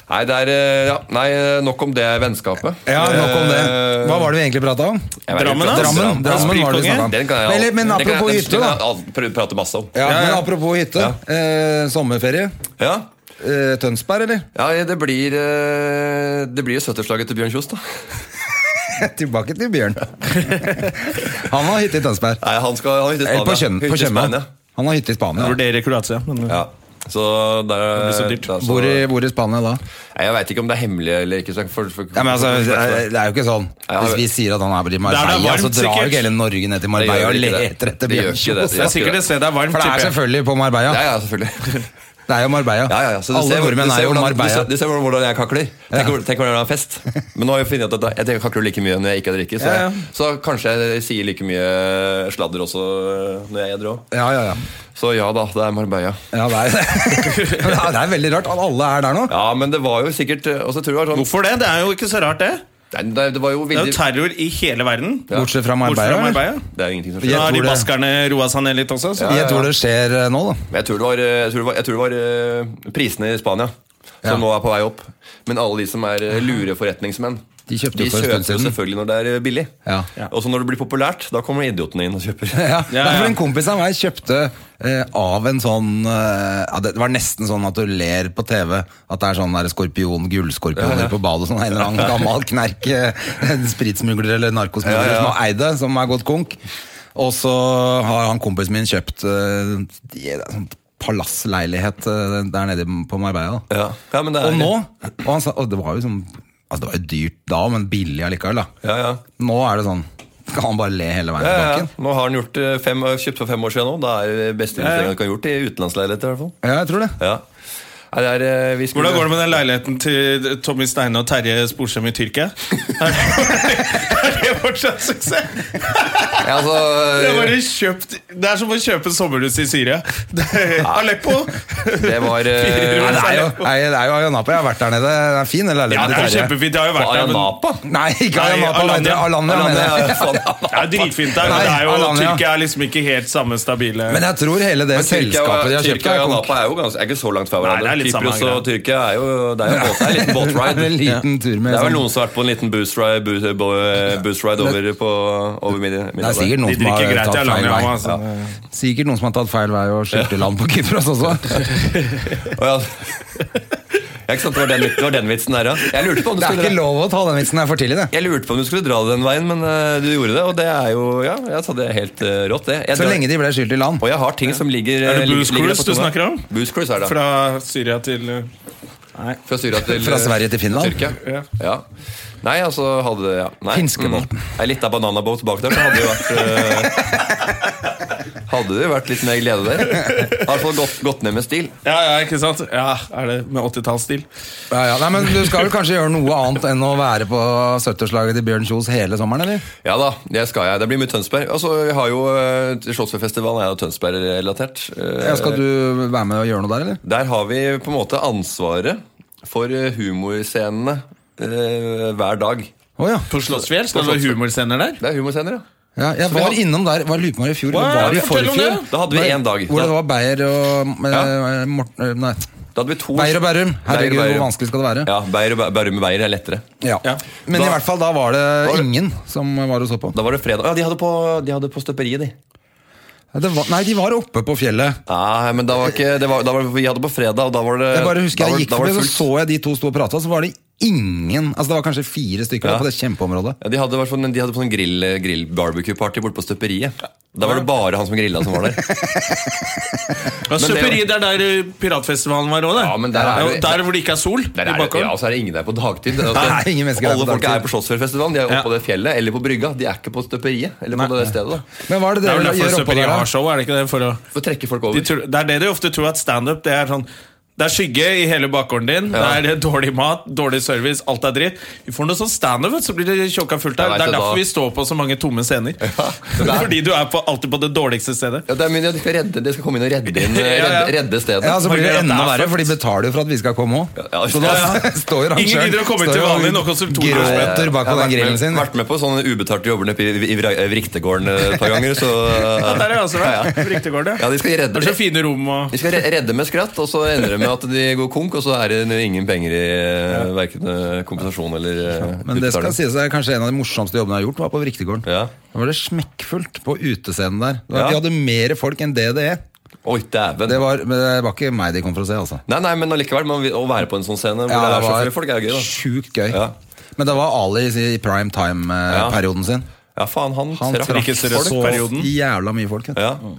Nei, det er, eh, ja, nei, nok om det vennskapet. Ja, Nok om det. Eh, Hva var det vi egentlig prata om? Jeg vet Drammen, ikke. da? Drammen, Drammen var det vi Spritkonge? snakket om. Den kan jeg, Eller, men den kan jeg- apropos den hytte, kan da. jeg al- pr- prate masse om. Ja, men apropos hytte. Eh, sommerferie. Ja. Eh, Tønsberg, [laughs] eller? Ja, det blir eh, Det blir jo 70-årslaget til Bjørn Kjos, da. Tilbake til Bjørn. [laughs] Han har hytte i Tønsberg. Nei, han skal ha hytte i Spania. Eller på Kjøn- på Hytte i Tjøme. Spania. Han har hytte i Spania. Vurderer Kroatia. Men, Ja. Så der blir så dyrt. der- så- Hvor i, hvor i Spania da? Nei, Jeg veit ikke om det er hemmelig eller ikke. så jeg- For, for, Ja, men altså, det er- det er jo ikke sånn. Ja, Hvis vi sier at han er i Marbella, Der det er varmt, så drar jo sikkert. ikke hele Norge ned til Det Marbella gjør og ikke det. leter etter Det gjør Bjørn ikke det, Kjos. det det er sikkert et sted det er varmt. For det er tipper jeg. selvfølgelig på Marbella. ja, ja, selvfølgelig. [laughs] Det er jo Marbella. Ja, ja, ja. Så du Alle ser- nordmenn du ser er jo hvordan- Du Marbella. ser, du ser hvordan, hvordan jeg kakler. Tenk, hvor- tenk hvordan jeg [laughs] har fest. Men nå har jeg funnet ut at jeg, jeg kakler like mye når jeg ikke drikker. Så, Ja, ja. så kanskje jeg sier like mye sladder også når jeg edrer òg. Ja, ja, ja. Så ja da, det er Marbella. ja det, er, Ja, det er veldig rart at alle er der nå. Ja, men det var jo sikkert Og så tror jeg det var sånn Hvorfor det? Det er jo ikke så rart, det. Nei, det, det var jo Det er jo veldig terror i hele verden. Ja. Bortsett fra Bortsett fra Marbella. eller? Marbella. Det er jo ingenting som Da skjer. Ja. har tror de det. baskerne roa seg ned litt også. Så. Gjett hvor det skjer eh, nå, da. Men jeg tror det var, eh, jeg tror det var, jeg tror det var eh, prisene i Spania som Ja. nå er på vei opp. Men alle de som er eh, lure forretningsmenn, De kjøpte de jo for en stund kjøper jo siden. selvfølgelig når det er eh, billig. Ja. Og så når det blir populært, da kommer idiotene inn og kjøper. [laughs] Ja, Ja, Derfor ja. En kompis av meg kjøpte eh, av en sånn eh, ja, Det var nesten sånn at du ler på TV at det er sånn der skorpion, gullskorpioner på badet. Sånn, en eller annen gammel knerk, eh, en spritsmugler eller narkosmugler Ja, ja, ja. som har eid det, som er gått konk. Og så har han kompisen min kjøpt eh, de- sånn palassleilighet eh, der nede på Marbella. da. Ja. Ja, men det er, Og nå og han sa, og det var jo sånn, altså det var jo dyrt da, men billig allikevel. da. Ja, ja. Nå er det sånn Kan han bare le hele veien Ja, til ja. banken? Nå har han gjort eh, fem, kjøpt for fem år siden nå. Da er det beste investeringen du kan ha gjort i utenlandsleiligheter. i hvert fall. Ja, jeg tror det. Ja. Nei, det er, eh, vi skulle- Hvordan går det med den leiligheten til Tommy Steine og Terje Sporsem i [laughs] Tyrkia? Er det, er det fortsatt suksess? Ja, altså, Det er, bare kjøpt, det er som å kjøpe sommerhus i Syria. Det er Aleppo! det [laughs] var eh, Nei, det er jo, nei, det er jo Ayanapa. Jeg har vært der nede. Det er fin, eller? Ja, det er jo kjempefint. Jeg har jo vært der. Men Ayanapa? Nei, ikke Nei, Ayanapa. Alanya. Alanya. Alanya, Alanya, mener jeg. ja, faen. det er dritfint der, men Nei, det er jo, Alanya. Tyrkia er liksom ikke helt samme stabile Men jeg tror hele det Men Tyrkia og- selskapet de har kjøpt Tyrkia og er Ayanapa er jo ganske, er ikke så langt fra Nei, det hverandre. er litt samme Kypros og Tyrkia er jo Det er jo en båt, det er [laughs] Det er en en liten båtride. liten tur med Det er vel sånn- noen som har vært på en liten boost ride, boost, bo- boost ride over, på, over mid, Det er sikkert De noen som drikker har greit i tatt feil Alanya vei. òg, altså. Sikkert noen som har tatt feil vei og skjølt i land på Kypros også. ja. [laughs] Ja, ikke sant, det var, den, det var den vitsen der, ja. Jeg lurte på om du Det er ikke skulle lov å ta den vitsen her for tidlig, det. jeg lurte på om du skulle dra det den veien, men eh, du gjorde det. Og det er jo ja, jeg sa det er helt eh, rått, det. Jeg Så drar- lenge de ble skyldt i land. og jeg har ting som ligger Er det ligger- Boost ligger der Cruise på du tunga. snakker om? Boost Cruise er det. Fra Syria til uh, Fra Syria til Fra Sverige til Finland. Tyrkia. Ja. Ja. Nei, altså hadde ja. Nei. Finskebåten. Mm. Ei lita bananabåt bak der, så hadde det jo vært eh, Hadde det jo vært litt mer glede der. Har i hvert fall gått, gått ned med stil. Ja, ja, ikke sant? Ja, er det med 80-tallsstil? Ja, ja. Nei, men Du skal vel kanskje gjøre noe annet enn å være på 70-årslaget til Bjørn Kjos hele sommeren, eller? Ja da, det skal jeg. Det blir mye Tønsberg. Altså, vi har jo eh, Slottsfjordfestivalen er jo Tønsberg-relatert. Eh, Ja, skal du være med og gjøre noe der, eller? Der har vi på en måte ansvaret for eh, humorscenene eh, hver dag. Å ja. På Slottsfjell? Skal det være humorscener der? Det er humorscener, ja. ja. Jeg vi var har- innom der. Var Lukemark i fjor? eller Wow, var det i fortell om det. forfjor? Da hadde vi én dag. Hvor det Da, var Beyer og eh, Ja. Morten eh, Nei. da hadde vi to Beyer og Bærum. Herregud, Beyer og Bærum. hvor vanskelig skal det være? Ja, Beyer og Bæ- Bærum og Beyer er lettere. Ja. Ja. Men Da- i hvert fall, da var det det- ingen som var og så på. Da var det fredag. Ja, de hadde på, de hadde på støperiet, de. Det var, nei, de var oppe på fjellet. Nei, men da var ikke, det var, da var, vi hadde på fredag, og da var det Jeg bare husker Eh, da var, jeg gikk da var forbi, det så fullt. så jeg de to stå og prata, så var det ingen Altså Det var kanskje fire stykker da, på det kjempeområdet. Ja, de hadde, i hvert fall- men de hadde på sånn grill, grill barbecue party borte på støperiet. Da var det bare han som grilla som [laughs] var der. Ja, Superi, det er der eh, piratfestivalen var òg, det. Ja, men der er Det det- jo der hvor det ikke er sol. i Der er det, bakgården. ja, og så er det ingen der på dagtid. Altså, Nei, ingen mennesker der alle på folk dagtid. er på Slottsfjellfestivalen. De er oppe Ja. på det fjellet eller på brygga. De er ikke på støperiet eller på det stedet. da Men hva er det det er vel dere derfor gjør oppå Superi der? har da? show, er det ikke det? For å For å trekke folk de over. tror, det er det de ofte tror at standup det er sånn det er skygge i hele bakgården din. Ja. Det er dårlig mat, dårlig service, alt er dritt. Vi får noe sånn standup, vet du, så blir det tjåka fullt Jeg her. vet Det er det, da- derfor vi står på så mange tomme scener. Fordi du er på, alltid på det dårligste stedet. Ja, det er, men ja, de, skal redde, de skal komme inn og [laughs] redde, inn, Ja, ja. redde, redde stedet. Ja, så blir det Margaret, enda det er verre, fucked. for de betaler jo for at vi skal komme òg. Ja, Så da ja, ja. [laughs] står jo han Ingen selv- gidder å komme står til jo vanlig nok konsumtorer. Gråter bak på den Jeg har vært grillen med- sin. Vært med på sånne ubetalte jobber nede i, i, i, Vra- Vriktegården eh, et par ganger. Så, Ja, der er jeg også [laughs] Ja, vært. ja. Riktiggård, Ja, de skal Det er redde så fine rom og de skal re- redde med skratt, og så ender det med at de går konk, og så er det ingen penger i eh, verken eh, kompensasjon eller eh, Men det skal utbetaling. sies er kanskje en av de morsomste jobbene jeg har gjort, var på Vriktegården. Ja. Da var det smekkfullt på utescenen der. Det var- Ja. De hadde mer folk enn DDE. Oi, dæven. Det var, men det var ikke meg de kom for å se, altså. Nei, nei, men allikevel, man, vil- å være på en sånn scene hvor det, er så flere folk, er jo gøy, da. sjukt gøy. Ja. Men det var Ali i prime Ja. time-perioden sin. Ja, faen, han, Han trakk trakk ikke så seriøst perioden. jævla mye folk. vet du. Ja. Mm.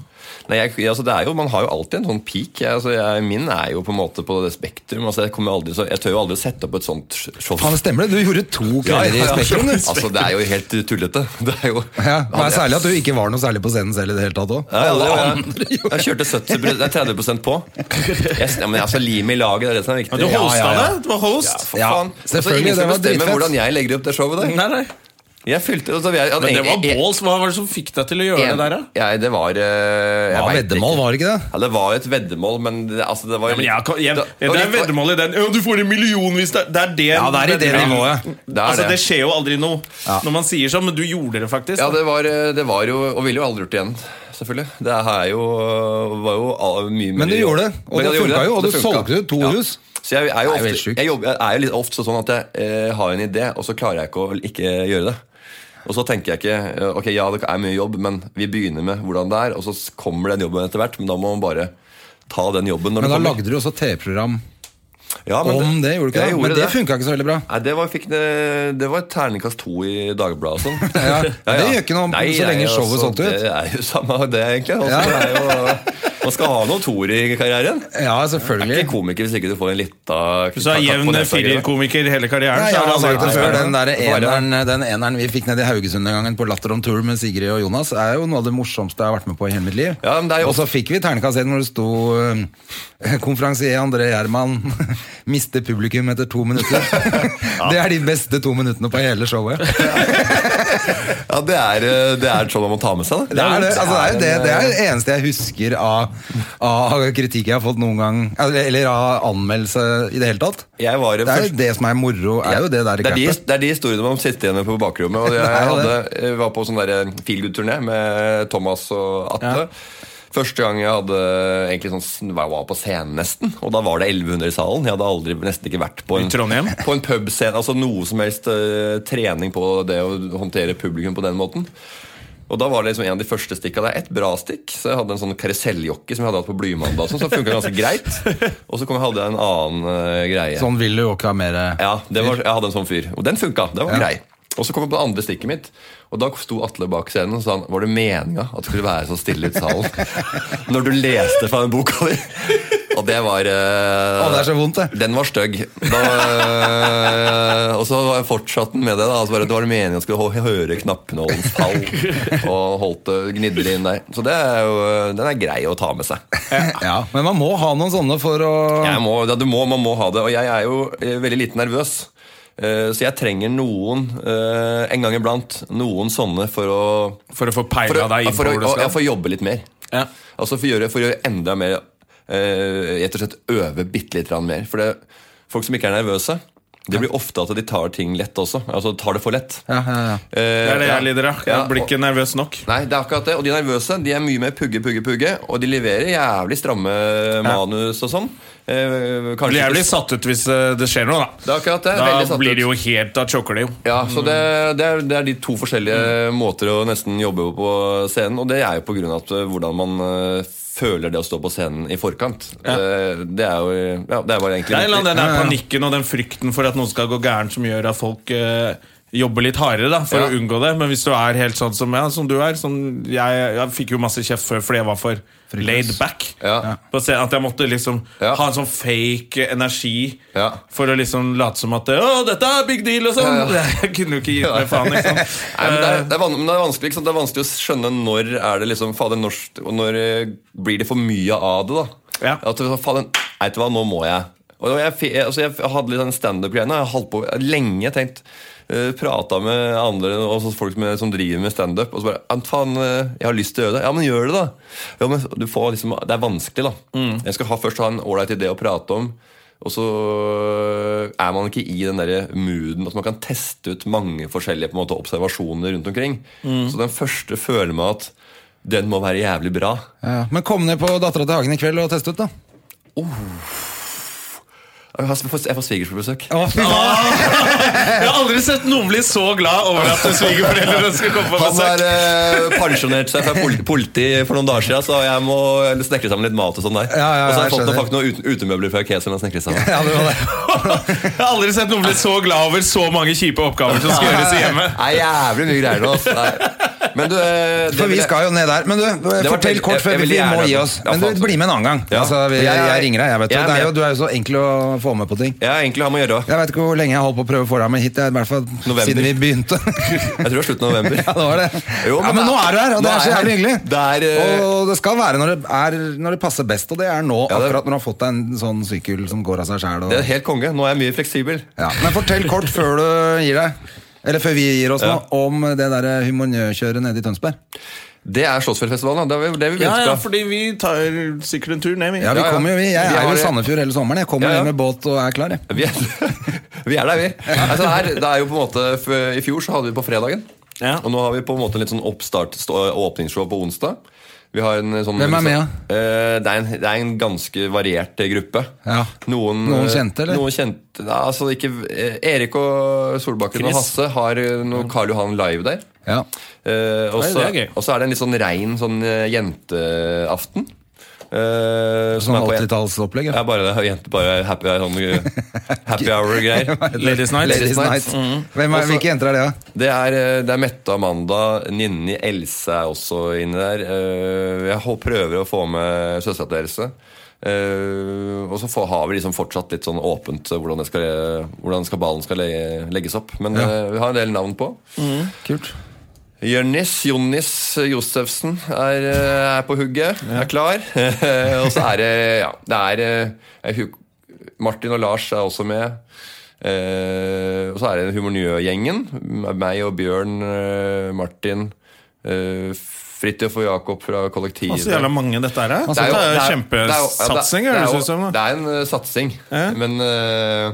Nei, jeg, altså det er jo, Man har jo alltid en sånn peak. Jeg, altså jeg, min er jo på en måte på det spektrum. Altså jeg, kommer jo aldri, så, jeg tør jo aldri sette opp et sånt show. Faen, stemmer det? Du gjorde to kvelder i Spektrum. du. Altså, det er jo helt tullete. Det er jo Ja, det er Hadde jeg- særlig at du ikke var noe særlig på scenen selv i det hele tatt òg. Ja, ja, det, [laughs] jeg, jeg kjørte 70 det er 30 på. Jeg, ja, men altså, Limet i laget det er det som er viktig. Du Ja, hosta ja, ja. det? Du var host? For Ja, faen. Altså, selvfølgelig, ingen skal det var bestemme dritfett. hvordan jeg legger opp det showet der. Nei, nei. Jeg fylte, altså, jeg, Men det var balls. Hva var det som fikk deg til å gjøre det der, da? Jeg, det var eh, jeg Ja, vet veddemål, ikke. var det ikke det? Ja, det var jo et veddemål, men det, altså, det var Ja, men jeg, kan- jeg, Det- jeg, det er veddemål i den. Ja, du får en million hvis det Det er det Ja, det er i det veddemål. nivået. Det er altså, det. det skjer jo aldri noe når man sier sånn, men du gjorde det faktisk. Ja, da. det var, eh, det var jo Og ville jo aldri gjort det igjen, selvfølgelig. Det her er jo, var jo a- mye mer Men du gjorde det, og Men det jeg gjorde funka jo. Og du det funka. solgte jo to Ja. hus. Så jeg er jo Det er jo helt ofte, sjukt. jeg jobber, jeg er jo litt ofte sånn at jeg eh, har en idé, og så klarer jeg ikke å ikke gjøre det. Og så tenker jeg ikke eh, Ok, ja, det er mye jobb, men vi begynner med hvordan det er, og så s- kommer den jobben etter hvert, men da må man bare ta den jobben Men når den da kommer. lagde du også TV-program ja, men om det, gjorde du ikke jeg det? Men gjorde det funka ikke så veldig bra. Nei, det var, fikk det, det var et terningkast to i Dagbladet og sånn. [laughs] Ja, det gjør ikke noe om- så lenge showet altså, sånt ut. Det er jo samme av det, egentlig. Altså, Ja. det er jo, man skal ha noen toer i karrieren. Ja, Du er selvfølgelig. ikke komiker hvis ikke du får en eh, lita Hvis du er jevn firerkomiker hele karrieren, Nei, så jeg er det har sagt det aldri- før. Den, der altså, Bare- eneren, den eneren vi fikk ned i Haugesund den gangen på Latter on Tour med Sigrid og Jonas, er jo noe av det morsomste jeg har vært med på i hele mitt liv. Ja, men det er jo Og så fikk vi terningkast én hvor det sto eh, [laughs] konferansier André Gjerman [laughs] mister publikum etter to [laughs] minutter. [laughs] Det er de beste to minuttene på hele showet. [laughs] Ja, det er, eh, det er et show man må ta med seg, Det da. er det, altså, det, er jo det, det er det eneste jeg husker av, av kritikk jeg har fått noen gang, eller, eller av anmeldelse i det hele tatt. Jeg var Det er jo det som er moro, er jo det der det, er de, crapet. det er de historiene man sitter igjen med på [laughs] bakrommet. Og jeg, Det er jo hadde, jeg var på sånn der feel good-turné med Thomas og Atle. Første gang jeg hadde egentlig sånn, sn- jeg var på scenen, nesten. Og da var det 1100 i salen. Jeg hadde aldri nesten ikke vært på en, I Trondheim? [laughs] på en pubscene. Altså noe som helst eh, trening på det å håndtere publikum på den måten. Og da var det liksom en av de første stikka der. Et bra stikk. Så jeg hadde en sånn karuselljockey som jeg hadde hatt på Blymandag, og sånn, som funka ganske greit. [laughs] Og så kom, hadde jeg en annen eh, greie. Sånn vil du jo ikke ha mer Ja, det var, jeg hadde en sånn fyr. Og den funka. Det var grei. Og så kom jeg på det andre stikket mitt, og da sto Atle bak scenen og sa han, Var det meninga at det skulle være så stille [laughs] ute i salen når du leste fra den boka di? Og det var eh, Å, det er så vondt, det. Den var stygg. Da, eh, og så var jeg fortsatt med det. da altså bare, Det var det meninga at jeg skulle hå- høre knappenålens fall. [laughs] Og holdt det gnidde det inn der. Så det er jo, eh, den er grei å ta med seg. Ja, men man må ha noen sånne for å Jeg må, ja, du må, man må ha det. Og jeg er jo eh, veldig lite nervøs. Eh, Så jeg trenger noen, eh, en gang iblant, noen sånne for å For å få For peila å, deg inn på sånn. for å, hvor du ja, skal. for å jobbe litt mer. Ja. Altså for å gjøre, for å gjøre enda mer eh, Rett og slett øve bitte litt grann mer. For det, folk som ikke er nervøse, det blir ofte at de tar ting lett også. Altså tar det for lett. Eh, Ja, ja, ja. Det er det jeg lider av. Jeg blir og- ikke nervøs nok. Nei, det er akkurat det. Og de nervøse de er mye mer pugge, pugge, pugge. Og de leverer jævlig stramme manus og sånn. Eh, Blir kanskje ikke- jævlig satt ut hvis eh, det skjer noe, Det da. er akkurat det. Veldig Da satt blir det ut. jo helt Da choker det jo. Ja, så det, det, er, det er de to forskjellige måter å nesten jobbe på på scenen. Og det er jo på grunn av at, eh, hvordan man eh, føler det å stå på scenen i forkant. Eh, Det er jo ja, det er bare egentlig Det er en eller annen den der panikken og den frykten for at noe skal gå gærent, som gjør at folk eh, jobber litt hardere da, for Ja. å unngå det. Men hvis du er helt sånn som, ja, som du er sånn, jeg, jeg fikk jo masse kjeft før fordi jeg var for laid back. Ja. På scenen, at jeg måtte liksom Ja. ha en sånn fake energi Ja. for å liksom late som at Å, dette er big deal! og sånn. Ja, ja. [laughs] Jeg kunne jo ikke gitt meg faen. Liksom. [laughs] Nei, men det er, det, er van, men det er vanskelig ikke sant? Det er vanskelig å skjønne når er det liksom fader, når, og når eh, blir det for mye av det. da Ja. At du sånn, fader, nei, vet du hva, nå må jeg. Og jeg, fi- jeg, altså, jeg hadde litt den standup-greia. Jeg holdt på lenge tenkt uh, Prata med andre og så folk som, som driver med standup. Og så bare «Ja, faen, eh, jeg har lyst til å gjøre det. Ja, men gjør det, da! Ja, men du får liksom, Det er vanskelig, da. Jeg skal ha, først ha en ålreit idé å prate om. Og så eh, er man ikke i den der mooden at man kan teste ut mange forskjellige på en måte, observasjoner rundt omkring. Så den første føler meg at den må være jævlig bra. Ja, men kom ned på Dattera til Hagen i kveld og test ut, da. Jeg har- jeg får jeg får svigers på besøk. Å, fy faen. Jeg har aldri sett noen bli så glad over at svigerforeldrene skulle komme på Han besøk. har eh, pensjonert seg fra pol- politi for noen dager siden, så jeg må snekre sammen litt mat og sånn der. Ja, ja, ja, og så har jeg jeg fått noen, skjønner. faktisk noen ute- utemøbler fra Ikea som jeg snekrer sammen. [laughs] [laughs] Ja, det var det. [laughs] Jeg har aldri sett noen bli så glad over så mange kjipe oppgaver som skal gjøres i hjemmet. Det er jævlig mye greier nå. ass. Nei. Men du, eh, det For vi vil jeg- skal jo ned der. Men du, var fortell veldig- kort før jeg- jeg vi ville må gjerne- gi oss. Ja, Men faen. du, bli med en annen gang. Ja. Altså, vi, Jeg- jeg, jeg- ringer deg, jeg vet det. jeg er det er jo, med. du er jo så enkel å få med på ting. Jeg har egentlig har med å gjøre. Jeg vet ikke hvor lenge jeg holdt på å prøve å få deg med hit. Jeg, i hvert fall November. siden vi begynte. [laughs] Jeg tror det er slutten av november. ja, det var det. Jo, ja, men nå er du her, og det nå er så jeg jævlig hyggelig. her. Det er, eh, Og det skal være når det, er, når det passer best, og det er nå. Ja, det- Akkurat når du har fått deg en sånn sykkel som går av seg sjæl. det er helt konge. Nå er jeg mye fleksibel. Ja. Men fortell kort før du gir deg, eller før vi gir oss Ja. nå, om det derre humorkjøret nede i Tønsberg. Det er Slottsfjellfestivalen, da. Det er det vi Ja, begynte ja, på. fordi vi tar sikkert en tur ned, vi. Ja, vi Ja, ja. kommer jo, vi. Jeg Vi er har jo i det. Sandefjord hele sommeren. Jeg kommer Ja, ja. ned med båt og er klar, jeg. Vi er, [laughs] vi er der, vi. Altså, det, er, det er jo på en måte f- I fjor så hadde vi på fredagen. Ja. Og nå har vi på en måte en litt sånn oppstart stå- åpningsshow på onsdag. Vi har en sånn, Hvem er med, Eh, Det er, en, det er en ganske variert eh, gruppe. Ja. Noen, Noen eh, kjente, eller? Noen kjente, ja, altså ikke, eh, Erik og Solbakken og Chris. Hasse har eh, noe Karl Johan live der. Ja. Eh, og Oi, så det er gøy. og så er det en litt sånn rein sånn, eh, jenteaften. eh, som Sånn er på en- 80-tallsopplegg. ja, Ja. bare, jente- bare happy, sånn, happy hour-greier. Ladies Night. Ladies Night. Hvem er, Også- hvilke jenter er det, da? Det er, eh, det er Mette Amanda, Ninni Else er også inne der. Eh, Jeg hå- prøver å få med søstera deres. Eh, og så får, har vi liksom fortsatt litt sånn åpent eh, hvordan, det skal, eh, hvordan skal ballen skal le- legges opp. Men eh, vi har en del navn på. Kult. Jørnis Jonnis Josefsen er, eh, er på hugget, er klar. [laughs] og så er det ja, det er eh, jeg hu- Martin og Lars er også med. Eh, og så er det Humornø-gjengen. Meg og Bjørn, eh, Martin, uh, Fridtjof og Jakob fra kollektivet. Og så jævla mange dette her er. Det Dette Altså, er jo- jo det er- det er jo- ja, det er- kjempesatsing, det er høres jo- det ut som. da. Det er en eh, satsing, Ja. men eh,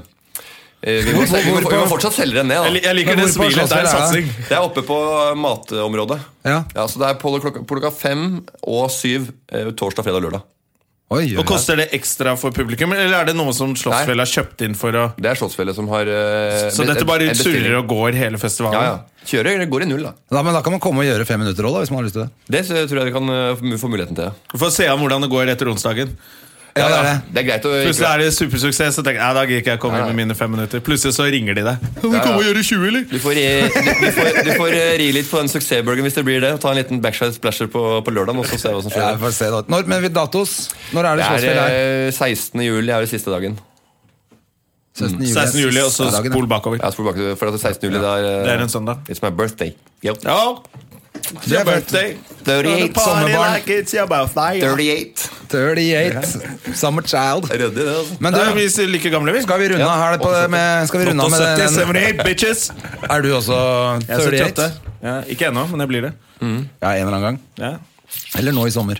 eh, vi, må, vi, må, vi må fortsatt selge den ned, da. Jeg, jeg liker Men det hvorfor smilet. Det er slåss dere, satsing. Det er oppe på matområdet. Ja. så Det er på klokka, på klokka fem og syv eh, torsdag, fredag og lørdag. Oi, oi, Og Koster det ekstra for publikum, eller er det noe som Slottsfjell har kjøpt inn for å Det er Slottsfjellet som har eh, Så be- dette en bare bestilling. surrer og går hele Ja, festivalen? ja. Kjører det går i null, da. Da, men da kan man komme og gjøre fem minutter òg, hvis man har lyst til det. Det s- tror jeg dere kan eh, få- få muligheten til. Vi får se an hvordan det går etter onsdagen. Ja, det er det. Det er greit å Plutselig er det supersuksess, så tenker jeg ja, da gidder ikke jeg komme inn med mine fem minutter. Plutselig så ringer de deg. Kan du komme og gjøre 20, eller? du får, ri- du, du får, du får eh, ri litt på den suksessburgeren hvis det blir det. og Ta en liten backside splasher på, på lørdag. Og så se hva som Ja, skjer. vi får se da. Når, men vi datos? Når er det Det er slåssfjell her? eh, 16. juli er det siste dagen. 16. juli. 16. juli, og så Ja, dagen, ja. spol bakover. Jeg spør bak, for at det er 16. juli, det er, eh, Det er en søndag. It's my birthday. Yep. Ja. It's Det your er fett. birthday. 38 sommerbarn. it's your birthday. 38. 38. Summer child. Ryddig, det, altså. Men du, Nei, vi er like gamle, vi. skal vi runde av her det på, med, skal vi runde av med 78, den? 78, bitches! Er du også Jeg er 38? 78. Ja, ikke ennå, men jeg blir det. Ja, en eller annen gang. Ja. Eller nå i sommer.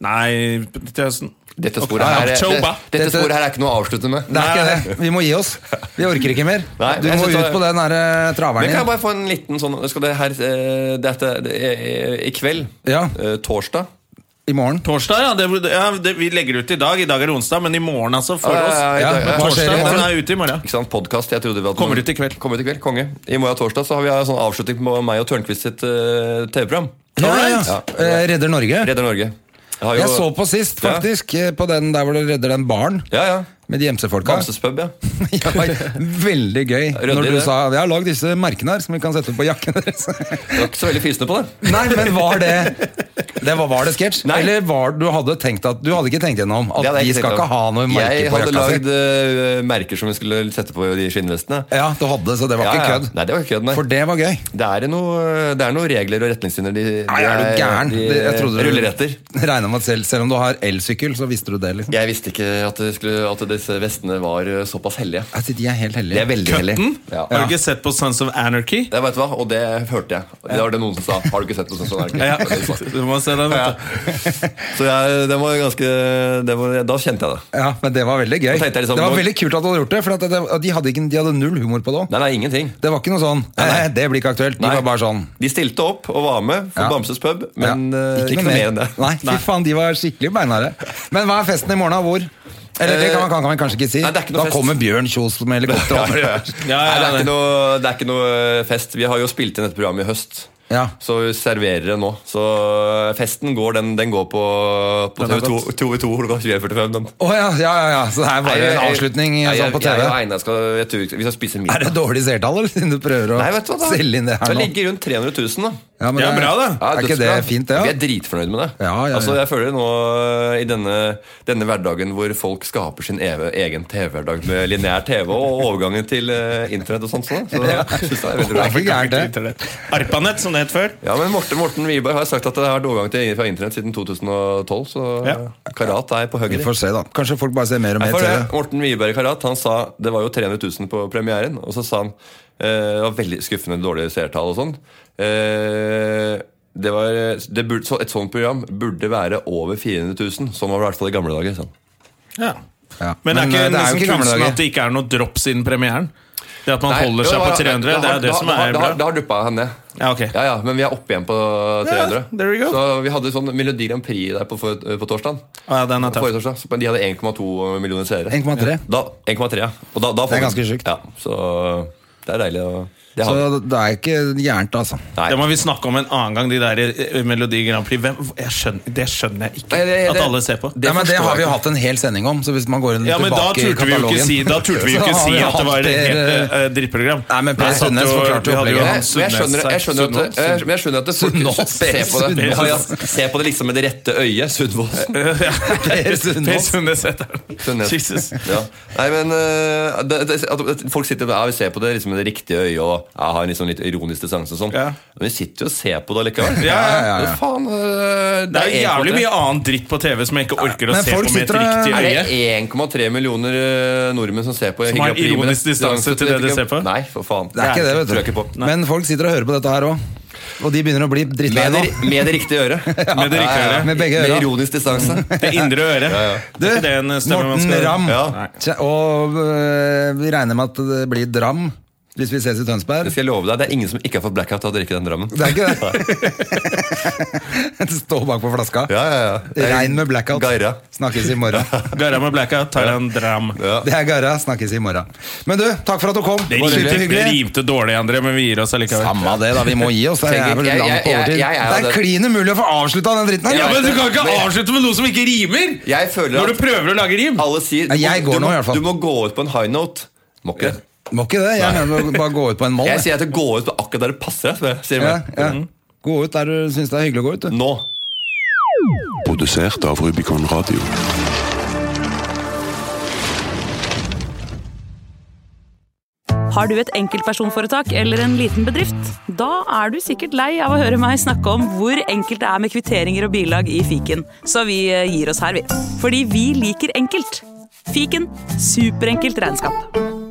Nei, til høsten. Dette sporet, her, er- Oktober. det, dette Dette- sporet her er ikke noe å avslutte med. Det er ikke det. Vi må gi oss. Vi orker ikke mer. Nei, Du jeg må synes ut det- på den derre Men traveren kan jeg din. bare få en liten sånn Skal det her eh, dette, det, er- I kveld, Ja. eh, torsdag I morgen. Torsdag, ja. Det, ja det, vi legger ut i dag. I dag er det onsdag, men i morgen, altså. For Ja, ja, oss. ja, Ja, i dag, hva skjer i Torsdag, morgen? den er ute i morgen. Ikke sant, podcast, jeg trodde vi hadde Kommer ut i kveld. Kommer ut i kveld, konge I morgen torsdag så har vi en sånn avslutning på meg og Tørnqvist sitt eh, TV-program Ja, ja, Alright. ja. Eh, Redder Norge. Redder Norge har jo- Jeg så på sist, Ja. faktisk. eh, På den der hvor du redder den baren Ja, ja. med de gjemsefolka. Bamses pub, ja. [laughs] Ja, veldig gøy Ryddig, når du det. sa jeg har lagd disse merkene her som vi kan sette på jakken deres. [laughs] Du var ikke så veldig fisende på det. Nei, men var det Det var, var det sketsj? Nei. Eller var du hadde tenkt at Du hadde ikke tenkt gjennom at Det hadde jeg de tenkt skal over. ikke ha noe merke Jeg på hadde jakka lagd si? øh, merker som vi skulle sette på de skinnvestene. Ja, du hadde, så det var Ja, ikke ja. kødd. Nei, det var ikke kødd, nei. For det var gøy. Det er noe, det er noe regler og retningslinjer de, de Nei, er du gæren? de Det- jeg trodde du ruller [laughs] etter. Regna med at selv, selv om du har elsykkel, så visste du det, liksom. Jeg visste ikke at, det skulle, at disse vestene var øh, såpass hellige. Altså, de er helt De hellige. er veldig hellige. Køtten? Ja. Hm? Har du ikke sett på Sons of Anarchy? Det vet du hva, og det hørte jeg. Det var det noen som sa. Har du ikke sett noe sånt? som [laughs] er Ja, gøy?» du må se den. Ja. vet du. Så jeg, det var ganske det var, Da kjente jeg det. Ja, men det var veldig gøy. Da tenkte jeg liksom, det var nå- veldig kult at du hadde gjort det, for at det, at de, hadde ikke, de hadde null humor på det òg. Nei, nei, ingenting. Det var ikke noe sånn Nei, nei. «Eh, Det blir ikke aktuelt. De Nei. var bare sånn De stilte opp og var med for Ja. Bamses pub, men Ja. øh, ikke, noe mer enn det. Nei, fy faen, de var skikkelig beinharde. Men hva er festen i morgen, og hvor? Eller det kan man, kan man kanskje ikke si. Eh, Nei, det er ikke noe da fest. kommer Bjørn Kjos med helikopter. [laughs] [laughs] Ja, over. ja, Ja, Nei, ja, det, er det. ikke noe, det er ikke noe fest. Vi har jo spilt inn et program i høst. Ja. Så vi serverer det nå. Så festen går, den, den går på, på Den er TV2 TV2 klokka 21.45. den. Å ja, ja, ja, ja. Så det er bare en avslutning Nei, jeg- sånn på Jeg, TV. jeg, og Einar skal, jeg tror vi skal spise middag. Er det dårlig seertall, eller? Siden du prøver å Nei, vet du hva da? selge inn det her nå. ligger rundt 300 000, da. Ja, men Ja, det- bra, det. Ja, Er ikke det dødsbra. fint, det? Vi Ja? er dritfornøyd med det. Ja, ja, ja. Altså, jeg føler nå øh, i denne, denne hverdagen hvor folk skaper sin eve, egen TV-hverdag med lineær TV og overgangen til øh, internett og sånt, sånn, [laughs] så jeg synes det er veldig Det bra. er for gærent, det. Arpanet, som det het før. Ja, men Morten, Morten Wiberg har sagt at det har vært overgang til fra internett siden 2012, så Ja. Karat er på Vi høyre. får se, da. Kanskje folk bare ser mer og Nei, mer for det, TV. Morten Wiberg Karat han sa det var jo 300 000 på premieren, og så sa han eh, det var veldig skuffende dårlige seertall og sånn. Eh, det var, det burde, så et sånt program burde være over 400 000. Sånn var det i hvert fall i gamle dager. Sånn. Ja. Men, det eh, er ikke jo nesten gamle kunsten dager. at det ikke er noe dropp siden premieren. Det at man holder seg jo, på da- 300, da- det er da- det som da- er da- bra. Da da har duppa han ned. Ja, ok. Ja, ja, Men vi er oppe igjen på 300. there we go. så vi hadde sånn Melodi Grand Prix der på, for- på torsdag. Ah, ja, den er tøff. Forrige torsdag. så- Men de hadde 1,2 millioner seere. 1,3. Da- 1,3, ja. Og da, da får Det er vi- ganske sjukt. Ja, så det er deilig å det har vi. Så det er ikke gærent, altså. Nei. Det må vi snakke om en annen gang, de der eh, Melodi Grand Prix. Hvem, jeg skjønner, det skjønner jeg ikke Nei, det- at det- alle ser på. Det, ja, men det forstår har vi jeg jo ikke. hatt en hel sending om, så hvis man går inn Ja, men da tilbake i turte vi jo ikke katalogen si, da turte vi [laughs] jo Så ikke har si vi at det hatt var et helt eh, eh, drittprogram. Nei, men Per Jeg satt Sundnes jo- forklarte jo vi opplegget. hadde Men han jeg skjønner, jeg skjønner at, Sundnes, jeg, men jeg skjønner at det folk [laughs] Sundnes. ser på det Sundnes. ja, ja, Se på det liksom med det rette øyet. [laughs] Sundnes. [laughs] Per Per Sundnes. Sundnes heter han. Sundnes. Jesus. [laughs] Ja. Nei, men øh, det, det, at, at Folk sitter ja, vi ser på det liksom med det riktige øyet og ja, har en liksom litt ironisk distanse. og sånn Ja. Men vi sitter jo og ser på det likevel. Ja, ja, ja, Men Faen, øh, Det er jo jævlig 1,3. mye annen dritt på TV som jeg ikke orker å Men se på folk med et sitter og- riktig Er øye. det 1,3 millioner øh, nordmenn som ser på Som har Grand Prix med ironisk det- distanse til det de ser på? Nei, for faen. Det er ikke det, tror jeg vet ikke på. du. Men folk sitter og hører på dette her òg. Og de begynner å bli drittlei Med nå. det, med det riktige [laughs] øret. Med det riktige øret. Med begge øra. Med [laughs] ironisk distanse. Det indre øret. Du, Er ikke det en stemme man Morten skal- Ramm. Ja. Tja, Og øh, vi regner med at det blir dram hvis vi ses i Tønsberg. Det skal jeg love deg, det er ingen som ikke har fått blackout av å drikke den drammen. Det er ikke [laughs] det? [laughs] Stå bak på flaska. Ja, ja, ja. Det er Regn med blackout. Garra. Snakkes i morgen. Garra med blackout, Thailand Dram. Det er Garra. Snakkes i morgen. Men du, takk for at du kom. Det var rimte, veldig det hyggelig. rimte dårlig, André, men vi gir oss allikevel. Samme det, da. Vi må gi oss. Det er Tenker- vel jeg- langt på jeg- overtid. jeg- jeg er jo Det er det. klin umulig å få avslutta den dritten her. Ja, men du kan ikke avslutte med noe som ikke rimer! Jeg føler at prøver å lage rim! alle sier Nei, jeg du, må- går du, nå, må- i hvert fall. du må gå ut på en high note. Må ikke det. Må ikke det. Jeg mener bare gå ut på en mål. Jeg jeg. sier Mm. at du går ut på akkurat der det passer deg. spør jeg- Sier Ja, jeg. ja. Gå ut der du syns det er hyggelig å gå ut, du. Nå. Produsert av Rubicon Radio. Har du et enkeltpersonforetak eller en liten bedrift? Da er du sikkert lei av å høre meg snakke om hvor enkelt det er med kvitteringer og bilag i fiken, så vi eh, gir oss her, vi. Fordi vi liker enkelt. Fiken superenkelt regnskap.